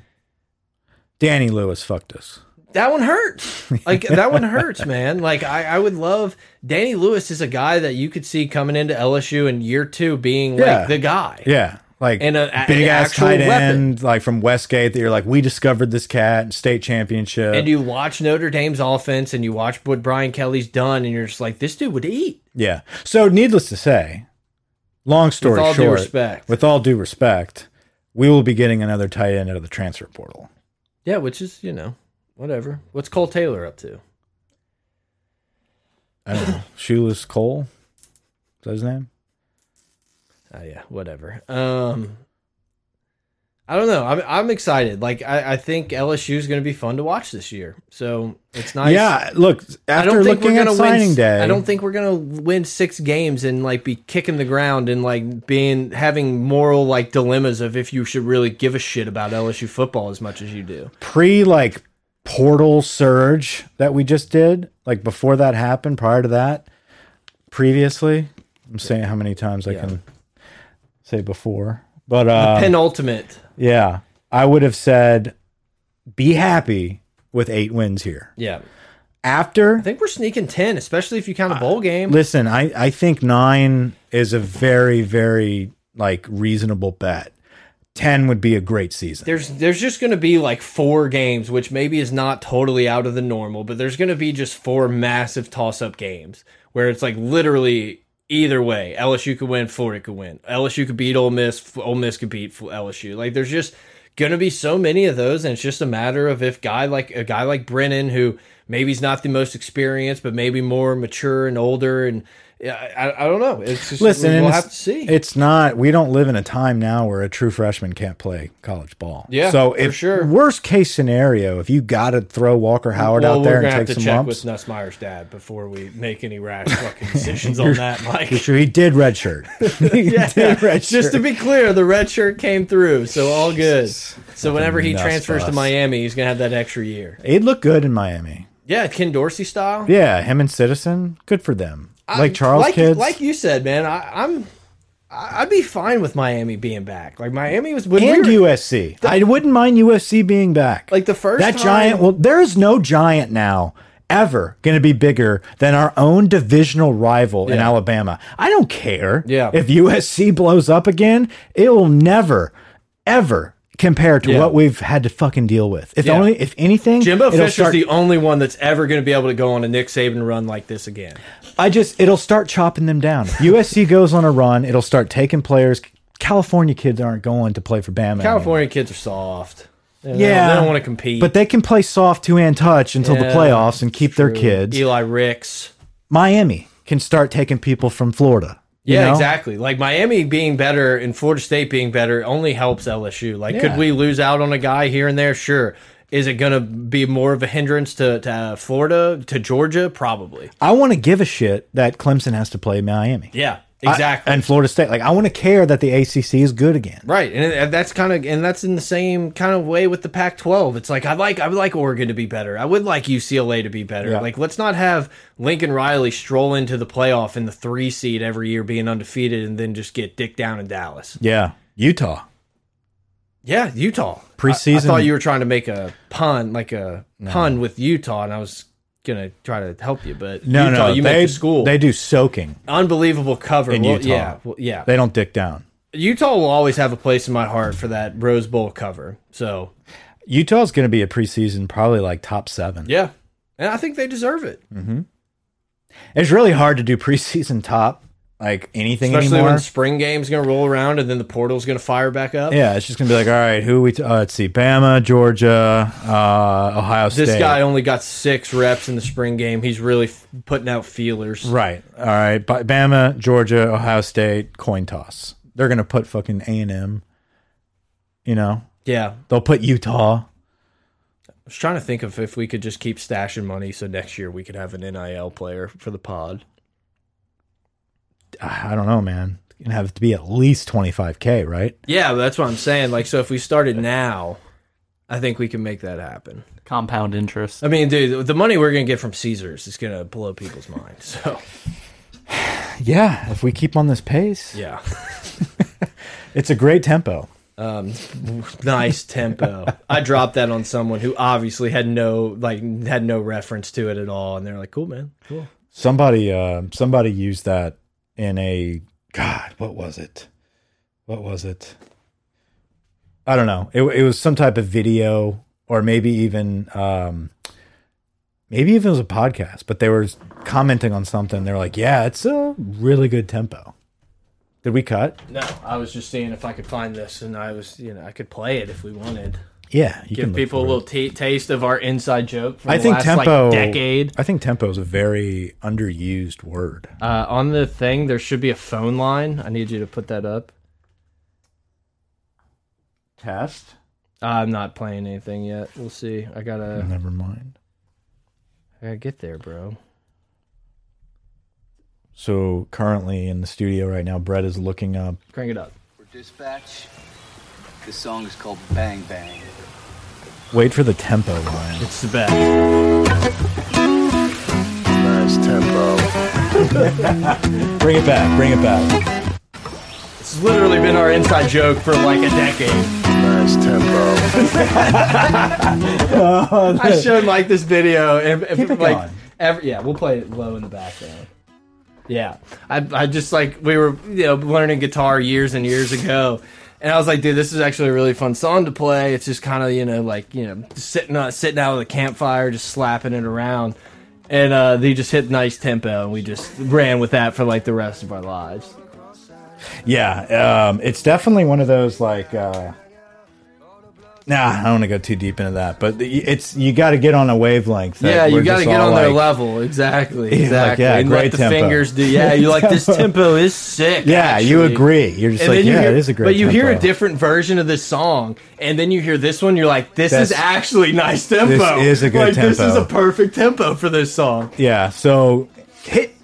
C: Danny Lewis fucked us.
A: That one hurts. Like that one hurts, man. Like I, I would love Danny Lewis is a guy that you could see coming into LSU in year 2 being
C: Yeah.
A: like the guy.
C: Yeah. Like
A: And a- a-
C: big
A: an
C: ass
A: actual
C: tight
A: weapon.
C: end, like from Westgate, that you're like, we discovered this cat, state championship.
A: And you watch Notre Dame's offense and you watch what Brian Kelly's done and you're just like this dude would eat.
C: Yeah. So, needless to say, long story
A: all due
C: short,
A: respect.
C: with all due respect, we will be getting another tight end out of the transfer portal.
A: Yeah, which is, you know, whatever. What's Cole Taylor up to?
C: I don't know. Shoeless Cole? Is that his name?
A: Oh yeah, whatever. Um, I don't know. I'm I'm excited. Like I, I think LSU is going to be fun to watch this year. So it's nice.
C: Yeah. Look,
A: I
C: after
A: don't think
C: looking
A: we're
C: at
A: gonna
C: signing
A: win,
C: day,
A: I don't think we're gonna win six games and like be kicking the ground and like being having moral like dilemmas of if you should really give a shit about LSU football as much as you do.
C: pre like portal surge that we just did, like before that happened, prior to that, previously, I'm saying how many times I can say before, but uh,
A: Penultimate.
C: yeah, I would have said, be happy with eight wins here.
A: Yeah,
C: After,
A: I think we're sneaking ten, especially if you count a bowl game.
C: listen, I I think nine is a very very like reasonable bet. Ten would be a great season.
A: there's there's just going to be like four games, which maybe is not totally out of the normal, but there's going to be just four massive toss up games where it's like literally either way, LSU could win, Florida could win, LSU could beat Ole Miss, F- Ole Miss could beat F- LSU. Like there's just going to be so many of those, and it's just a matter of if guy like a guy like Brennan, who maybe he's not the most experienced, but maybe more mature and older, and I, I, I don't know. It's just
C: Listen, and
A: we'll
C: it's-
A: have to see.
C: It's not. We don't live in a time now where a true freshman can't play college ball.
A: Yeah,
C: So
A: for
C: if
A: sure.
C: worst case scenario, if you got to throw Walker Howard
A: Well,
C: out
A: we're
C: there
A: gonna
C: and
A: have
C: take
A: to
C: some
A: check
C: lumps,
A: with Nussmeyer's dad before we make any rash fucking decisions on that, Mike.
C: he did redshirt. he did redshirt.
A: Just to be clear, the red shirt came through, so all good. So whenever he
C: nuts
A: transfers to
C: bus.
A: Miami, he's gonna have that extra year.
C: He'd look good in Miami.
A: Yeah, Ken Dorsey style.
C: Yeah, him and Citizen, good for them.
A: I-
C: Like Charles
A: like,
C: kids.
A: like you said, man. I, I'm, I- I'd be fine with Miami being back. Like Miami was when
C: and
A: we were,
C: USC. I wouldn't mind USC being back.
A: like the first
C: that
A: time-
C: giant. Well, there is no giant now ever going to be bigger than our own divisional rival in Alabama. I don't care.
A: Yeah.
C: If USC blows up again, it will never, ever compare to what we've had to fucking deal with. If
A: Yeah.
C: only, if anything,
A: Jimbo
C: it'll
A: Fisher's
C: start-
A: the only one that's ever going to be able to go on a Nick Saban run like this again.
C: I just it'll start chopping them down. If USC goes on a run. It'll start taking players. California kids aren't going to play for Bama. anymore.
A: California kids are soft. They don't-
C: Yeah.
A: they don't want to compete.
C: But they can play soft two and touch until the
A: Yeah,
C: playoffs and keep their kids.
A: Eli Ricks.
C: Miami can start taking people from Florida. you
A: Yeah,
C: know?
A: exactly. Like Miami being better and Florida State being better only helps LSU. Like,
C: Yeah.
A: could we lose out on a guy here and there? Sure. Is it going to be more of a hindrance to, to uh, Florida, to Georgia? Probably.
C: I want to give a shit that Clemson has to play Miami.
A: Yeah,
C: I-
A: exactly.
C: and Florida State. Like, I want to care that the ACC is good again.
A: right. And it- that's kind of, and that's in the same kind of way with the Pac 12. It's like, I like, I would like Oregon to be better. I would like UCLA to be better.
C: Yeah.
A: Like, let's not have Lincoln Riley stroll into the playoff in the three seed every year being undefeated and then just get dicked down in Dallas.
C: Yeah. Utah.
A: Yeah, Utah. I- I,
C: Preseason-
A: thought you were trying to make a pun, like a pun with Utah, and I was gonna try to help you, but
C: No,
A: Utah,
C: no.
A: you
C: they,
A: make the school.
C: They do soaking
A: Unbelievable cover.
C: in
A: Well,
C: Utah.
A: Yeah, well, yeah.
C: They don't dick down.
A: Utah will always have a place in my heart for that Rose Bowl cover. So
C: Utah's going to be a preseason, probably like top seven.
A: yeah, and I think they deserve it,
C: It's really hard to do preseason top, like anything
A: especially
C: anymore.
A: when spring game's gonna roll around and then the portal's gonna fire back up.
C: yeah, it's just gonna be like, all right, who we? T uh, let's see, Bama, Georgia, uh, Ohio State.
A: This guy only got six reps in the spring game. He's really f putting out feelers.
C: Right. All right. Ba- Bama, Georgia, Ohio State, coin toss. They're gonna put fucking A and M. You know,
A: Yeah,
C: they'll put Utah.
A: I was trying to think of if we could just keep stashing money so next year we could have an NIL player for the pod.
C: Ah, I don't know, man. It's gonna have to be at least twenty five k, right?
A: Yeah, but that's what I'm saying. Like, so if we started now, I think we can make that happen.
B: Compound interest.
A: I mean, dude, the money we're gonna get from Caesars is gonna blow people's minds. So
C: Yeah, if we keep on this pace,
A: yeah,
C: it's a great tempo.
A: Um, nice tempo. I dropped that on someone who obviously had no like had no reference to it at all, and they're like, "Cool, man, cool."
C: Somebody, uh, somebody used that in a God. What was it? What was it? I don't know. It, it was some type of video, or maybe even um, maybe even it was a podcast. But they were commenting on something. They were like, "Yeah, it's a really good tempo." Did we cut?
A: No, I was just seeing if I could find this, and I was, you know, I could play it if we wanted.
C: Yeah, you
A: Give
C: look
A: people
C: for
A: a
C: it.
A: little t taste of our inside joke from
C: I
A: the
C: think
A: last
C: tempo.
A: like, decade.
C: I think tempo is a very underused word.
A: Uh, on the thing, there should be a phone line. I need you to put that up.
C: Test.
A: I'm not playing anything yet. We'll see. I gotta,
C: Never mind.
A: I gotta get there, bro.
C: So currently in the studio right now, Brett is looking up.
A: Crank it up.
D: For dispatch, this song is called Bang Bang.
C: Wait for the tempo line.
A: It's the best.
E: Nice tempo.
C: Bring it back. Bring it back.
A: It's literally been our inside joke for like a decade.
E: Nice tempo.
A: I showed like this video. And, and,
C: Keep it
A: like,
C: going.
A: Every, yeah, we'll play it low in the background. Yeah, I, I just like we were you know learning guitar years and years ago, and I was like, dude, this is actually a really fun song to play. It's just kind of you know like you know sitting on sitting out of the campfire, just slapping it around, and uh, they just hit nice tempo, and we just ran with that for like the rest of our lives.
C: Yeah, um, it's definitely one of those like. Uh, nah, I don't want to go too deep into that, but the- it's you got to get on a wavelength. that
A: yeah, you
C: we're
A: got to
C: just
A: get
C: all
A: on their
C: like-
A: level, exactly,
C: Yeah, like,
A: exactly.
C: yeah,
A: and
C: great
A: let the
C: tempo.
A: fingers do. Yeah, you're like this tempo is sick.
C: Yeah, you
A: actually.
C: agree. You're just
A: And
C: like,
A: then you
C: yeah,
A: hear-
C: it is a great.
A: But you hear a
C: tempo.
A: different version of this song, and then you hear this one. You're like, this is
C: That's-
A: actually nice tempo.
C: is a good
A: like, This is
C: tempo.
A: a perfect tempo for this song.
C: Yeah, so hit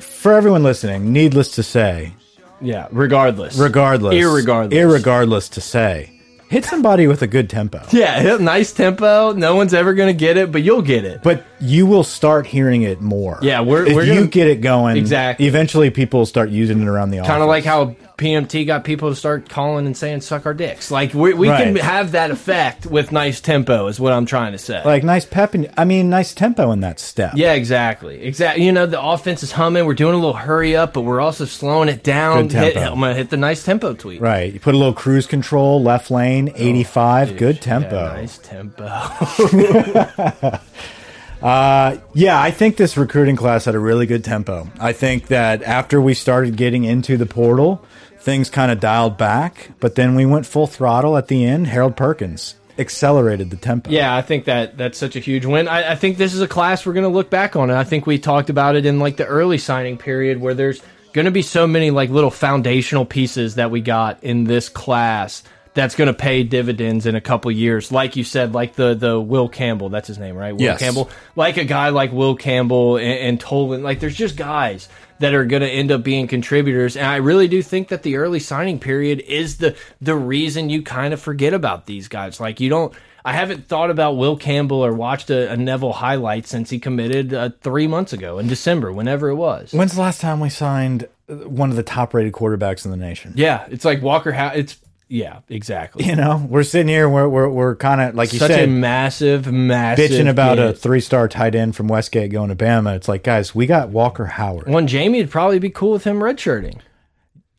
C: for everyone listening. Needless to say,
A: Yeah. Regardless.
C: regardless,
A: Irregardless.
C: irregardless to say, hit somebody with a good tempo.
A: yeah. hit- Nice tempo. No one's ever gonna get it, but you'll get it.
C: But you will start hearing it more.
A: Yeah, we're-
C: if
A: we're
C: you
A: gonna-
C: get it going.
A: Exactly.
C: Eventually, people will start using it around the office.
A: Kind of like how PMT got people to start calling and saying "suck our dicks." Like we, we can
C: Right.
A: have that effect with nice tempo, is what I'm trying to say.
C: like nice pep. In, I mean, nice tempo in that step.
A: Yeah, exactly. Exactly. You know, the offense is humming. We're doing a little hurry up, but we're also slowing it down.
C: Good tempo.
A: Hit- I'm gonna hit the nice tempo tweet.
C: Right. You put a little cruise control, left lane, eighty-five. good tempo.
A: Oh, Yeah, nice tempo.
C: Yeah, I think this recruiting class had a really good tempo. I think that after we started getting into the portal, things kind of dialed back, but then we went full throttle at the end. Harold Perkins accelerated the tempo.
A: Yeah, I think that that's such a huge win. I, I think this is a class we're going to look back on. And I think we talked about it in like the early signing period where there's going to be so many like little foundational pieces that we got in this class that's going to pay dividends in a couple years. Like you said, like the the Will Campbell, that's his name, right? Will
C: Yes.
A: Campbell. Like a guy like Will Campbell and, and Tolan. Like there's just guys that are going to end up being contributors and I really do think that the early signing period is the the reason you kind of forget about these guys. Like you don't I haven't thought about Will Campbell or watched a, a Neville highlight since he committed uh, three months ago in December, whenever it was.
C: When's the last time we signed uh, one of the top-rated quarterbacks in the nation?
A: Yeah, it's like Walker. Ha- it's yeah, exactly.
C: You know, we're sitting here, we're we're, we're kind of like you
A: Such a
C: said,
A: massive, massive
C: bitching about a
A: hit.
C: three-star tight end from Westgate going to Bama. It's like, guys, we got Walker Howard.
A: One Jamie would probably be cool with him redshirting.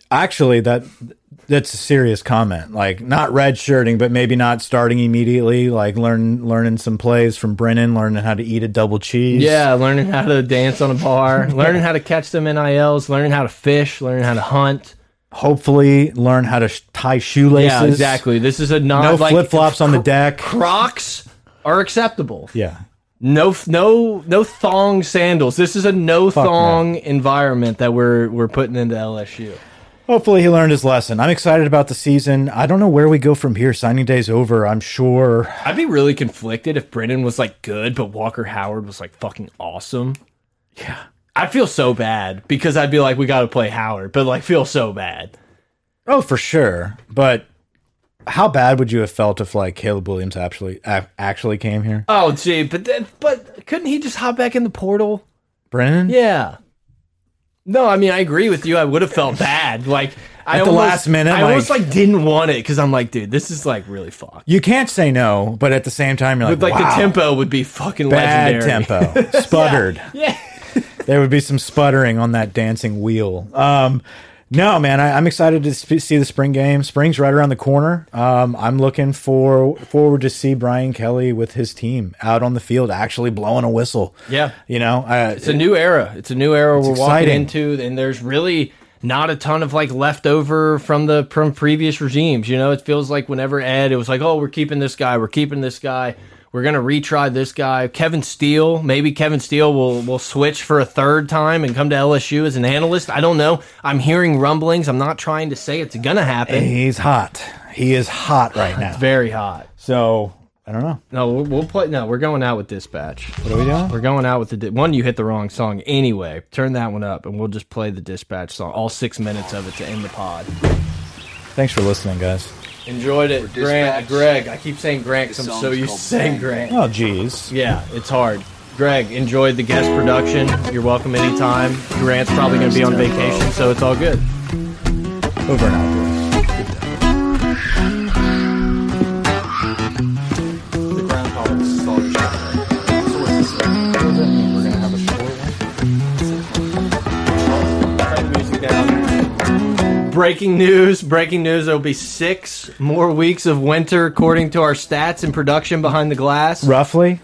C: actually that that's a serious comment like not red shirting but maybe not starting immediately like learn learning some plays from brennan learning how to eat a double cheese
A: Yeah, learning how to dance on a bar, learning how to catch them nils, learning how to fish, learning how to hunt.
C: hopefully learn how to sh tie shoelaces
A: Yeah, exactly. This is a non
C: no
A: like,
C: flip-flops on the deck
A: Crocs are acceptable.
C: yeah
A: No, no, no thong sandals. This is a no thong environment that we're we're putting into LSU.
C: hopefully he learned his lesson i'm excited about the season i don't know where we go from here signing day's over i'm sure
A: I'd be really conflicted if Brennan was like good, but Walker Howard was like fucking awesome. Yeah, I'd feel so bad because I'd be like, we got to play Howard, but like feel so bad.
C: oh for sure but how bad would you have felt if like Caleb Williams actually ac- actually came here?
A: Oh, gee, but then, but couldn't he just hop back in the portal?
C: Brennan?
A: Yeah. No, I mean I agree with you. I would have felt bad. Like I
C: At the
A: almost-
C: last minute,
A: I almost
C: like-
A: like didn't want it because I'm like, dude, this is like really fucked.
C: You can't say no, but at the same time you're like,
A: But like
C: wow,
A: the tempo would be fucking
C: bad
A: legendary.
C: tempo. Sputtered.
A: Yeah.
C: there would be some sputtering on that dancing wheel. Um, no, man, I, I'm excited to sp- see the spring game. Spring's right around the corner. Um, I'm looking for forward to see Brian Kelly with his team out on the field, actually blowing a whistle.
A: Yeah.
C: you know, uh, I,
A: It's a new era. It's a new era we're
C: exciting.
A: walking into, and there's really not a ton of like leftover from the from previous regimes. You know, it feels like whenever Ed, it was like, oh, we're keeping this guy, we're keeping this guy, we're gonna retry this guy. Kevin Steele, maybe Kevin Steele will will switch for a third time and come to LSU as an analyst. I don't know. I'm hearing rumblings. I'm not trying to say it's gonna happen.
C: he's hot. He is hot right now.
A: Very hot.
C: So I don't know.
A: No, we'll, we'll play. No, we're going out with dispatch.
C: What are we doing?
A: We're going out with the di- one. You hit the wrong song anyway. Turn that one up, and we'll just play the dispatch song, all six minutes of it to end the pod.
C: Thanks for listening, guys.
A: Enjoyed it,
D: For
A: Grant.
D: Dispatch.
A: Greg, I keep saying Grant 'cause
D: The
A: I'm
D: song's
A: so used to
D: called
A: saying
D: Bang.
A: Grant.
C: Oh, geez.
A: Yeah, it's hard. Greg, enjoyed the guest production. You're welcome anytime. Grant's probably going to be on vacation, so it's all good.
C: Over and out, boys.
F: The groundhog is solid. So what's this? What does that mean? We're gonna have a short one?
A: Breaking news, breaking news. There'll be six more weeks of winter, according to our stats and production behind the glass.
C: Roughly.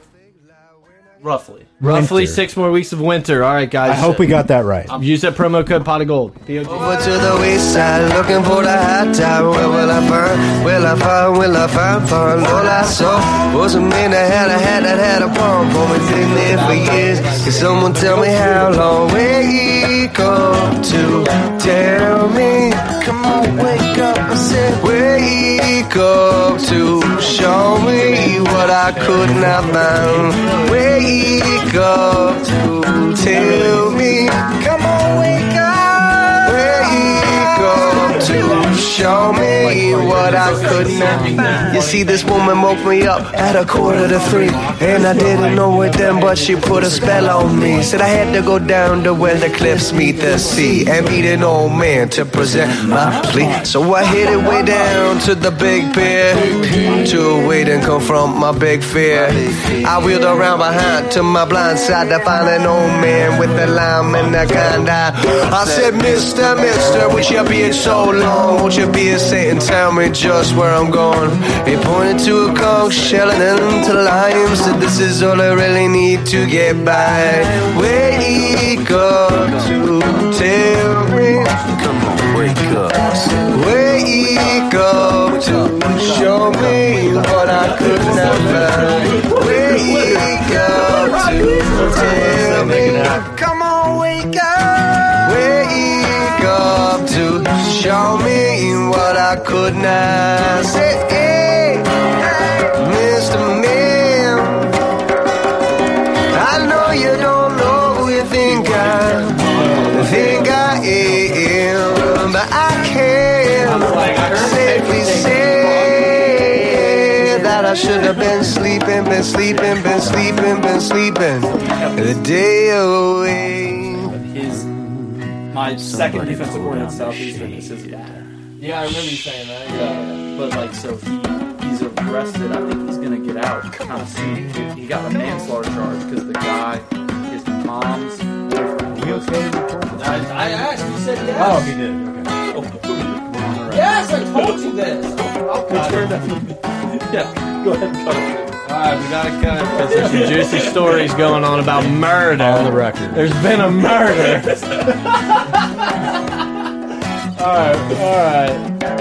B: Roughly.
A: Roughly
C: Winter.
A: six more weeks of winter. All right, guys.
C: I hope we got that right.
A: Use that promo code pot of gold.
G: Over to the west side, looking for the hot time. Where will I find? Will I find? Will I find? Find all I saw was a man that had a hat that had a pump. Oh, it's been there for years. Can someone tell me how long we go to? Tell me, come on, wake up and say wake up to show me what I could not find. Wake up to tell me, come on, wake up, wake up to show me what I could not find. You see, this woman woke me up at a quarter to three, and I didn't know it then, but she put a spell on me. Said I had to go down to where the cliffs meet the sea and meet an old man to present my plea. So I hit it way down to the big pier to wait and confront my big fear. I wheeled around behind to my blind side to find an old man with a lime and a kind eye. I said, Mister, Mister, would you be it so long? Won't you be a saint and tell me just where I'm going? He pointed to a conch shell and then to lime. Said, This is all I really need to get by. Wake up to tell me. Come on, wake up. Wake up to show me what I could not find. Wake up to tell me. Come on, wake up. Wake up to show me what I could not say. Mr. Man, I know you don't know who you think I am think I am, but I can't safely say that I should have been sleeping, been sleeping, been sleeping, been sleeping the day away.
B: His my second defensive coordinator at Southeastern is his dad.
A: Yeah, I remember you saying that.
F: But like, so he he's arrested. I think he's gonna get out. Kind of soon. He got a manslaughter charge because the guy, his mom's boyfriend. was-
A: I asked. You said yes. Oh, he did. Okay. Yes, I told you this. I'll cut it.
F: Yeah, go ahead. and cut
A: All right, we gotta cut because there's some juicy stories going on about murder.
B: On the record.
A: There's been a murder. all right, all right.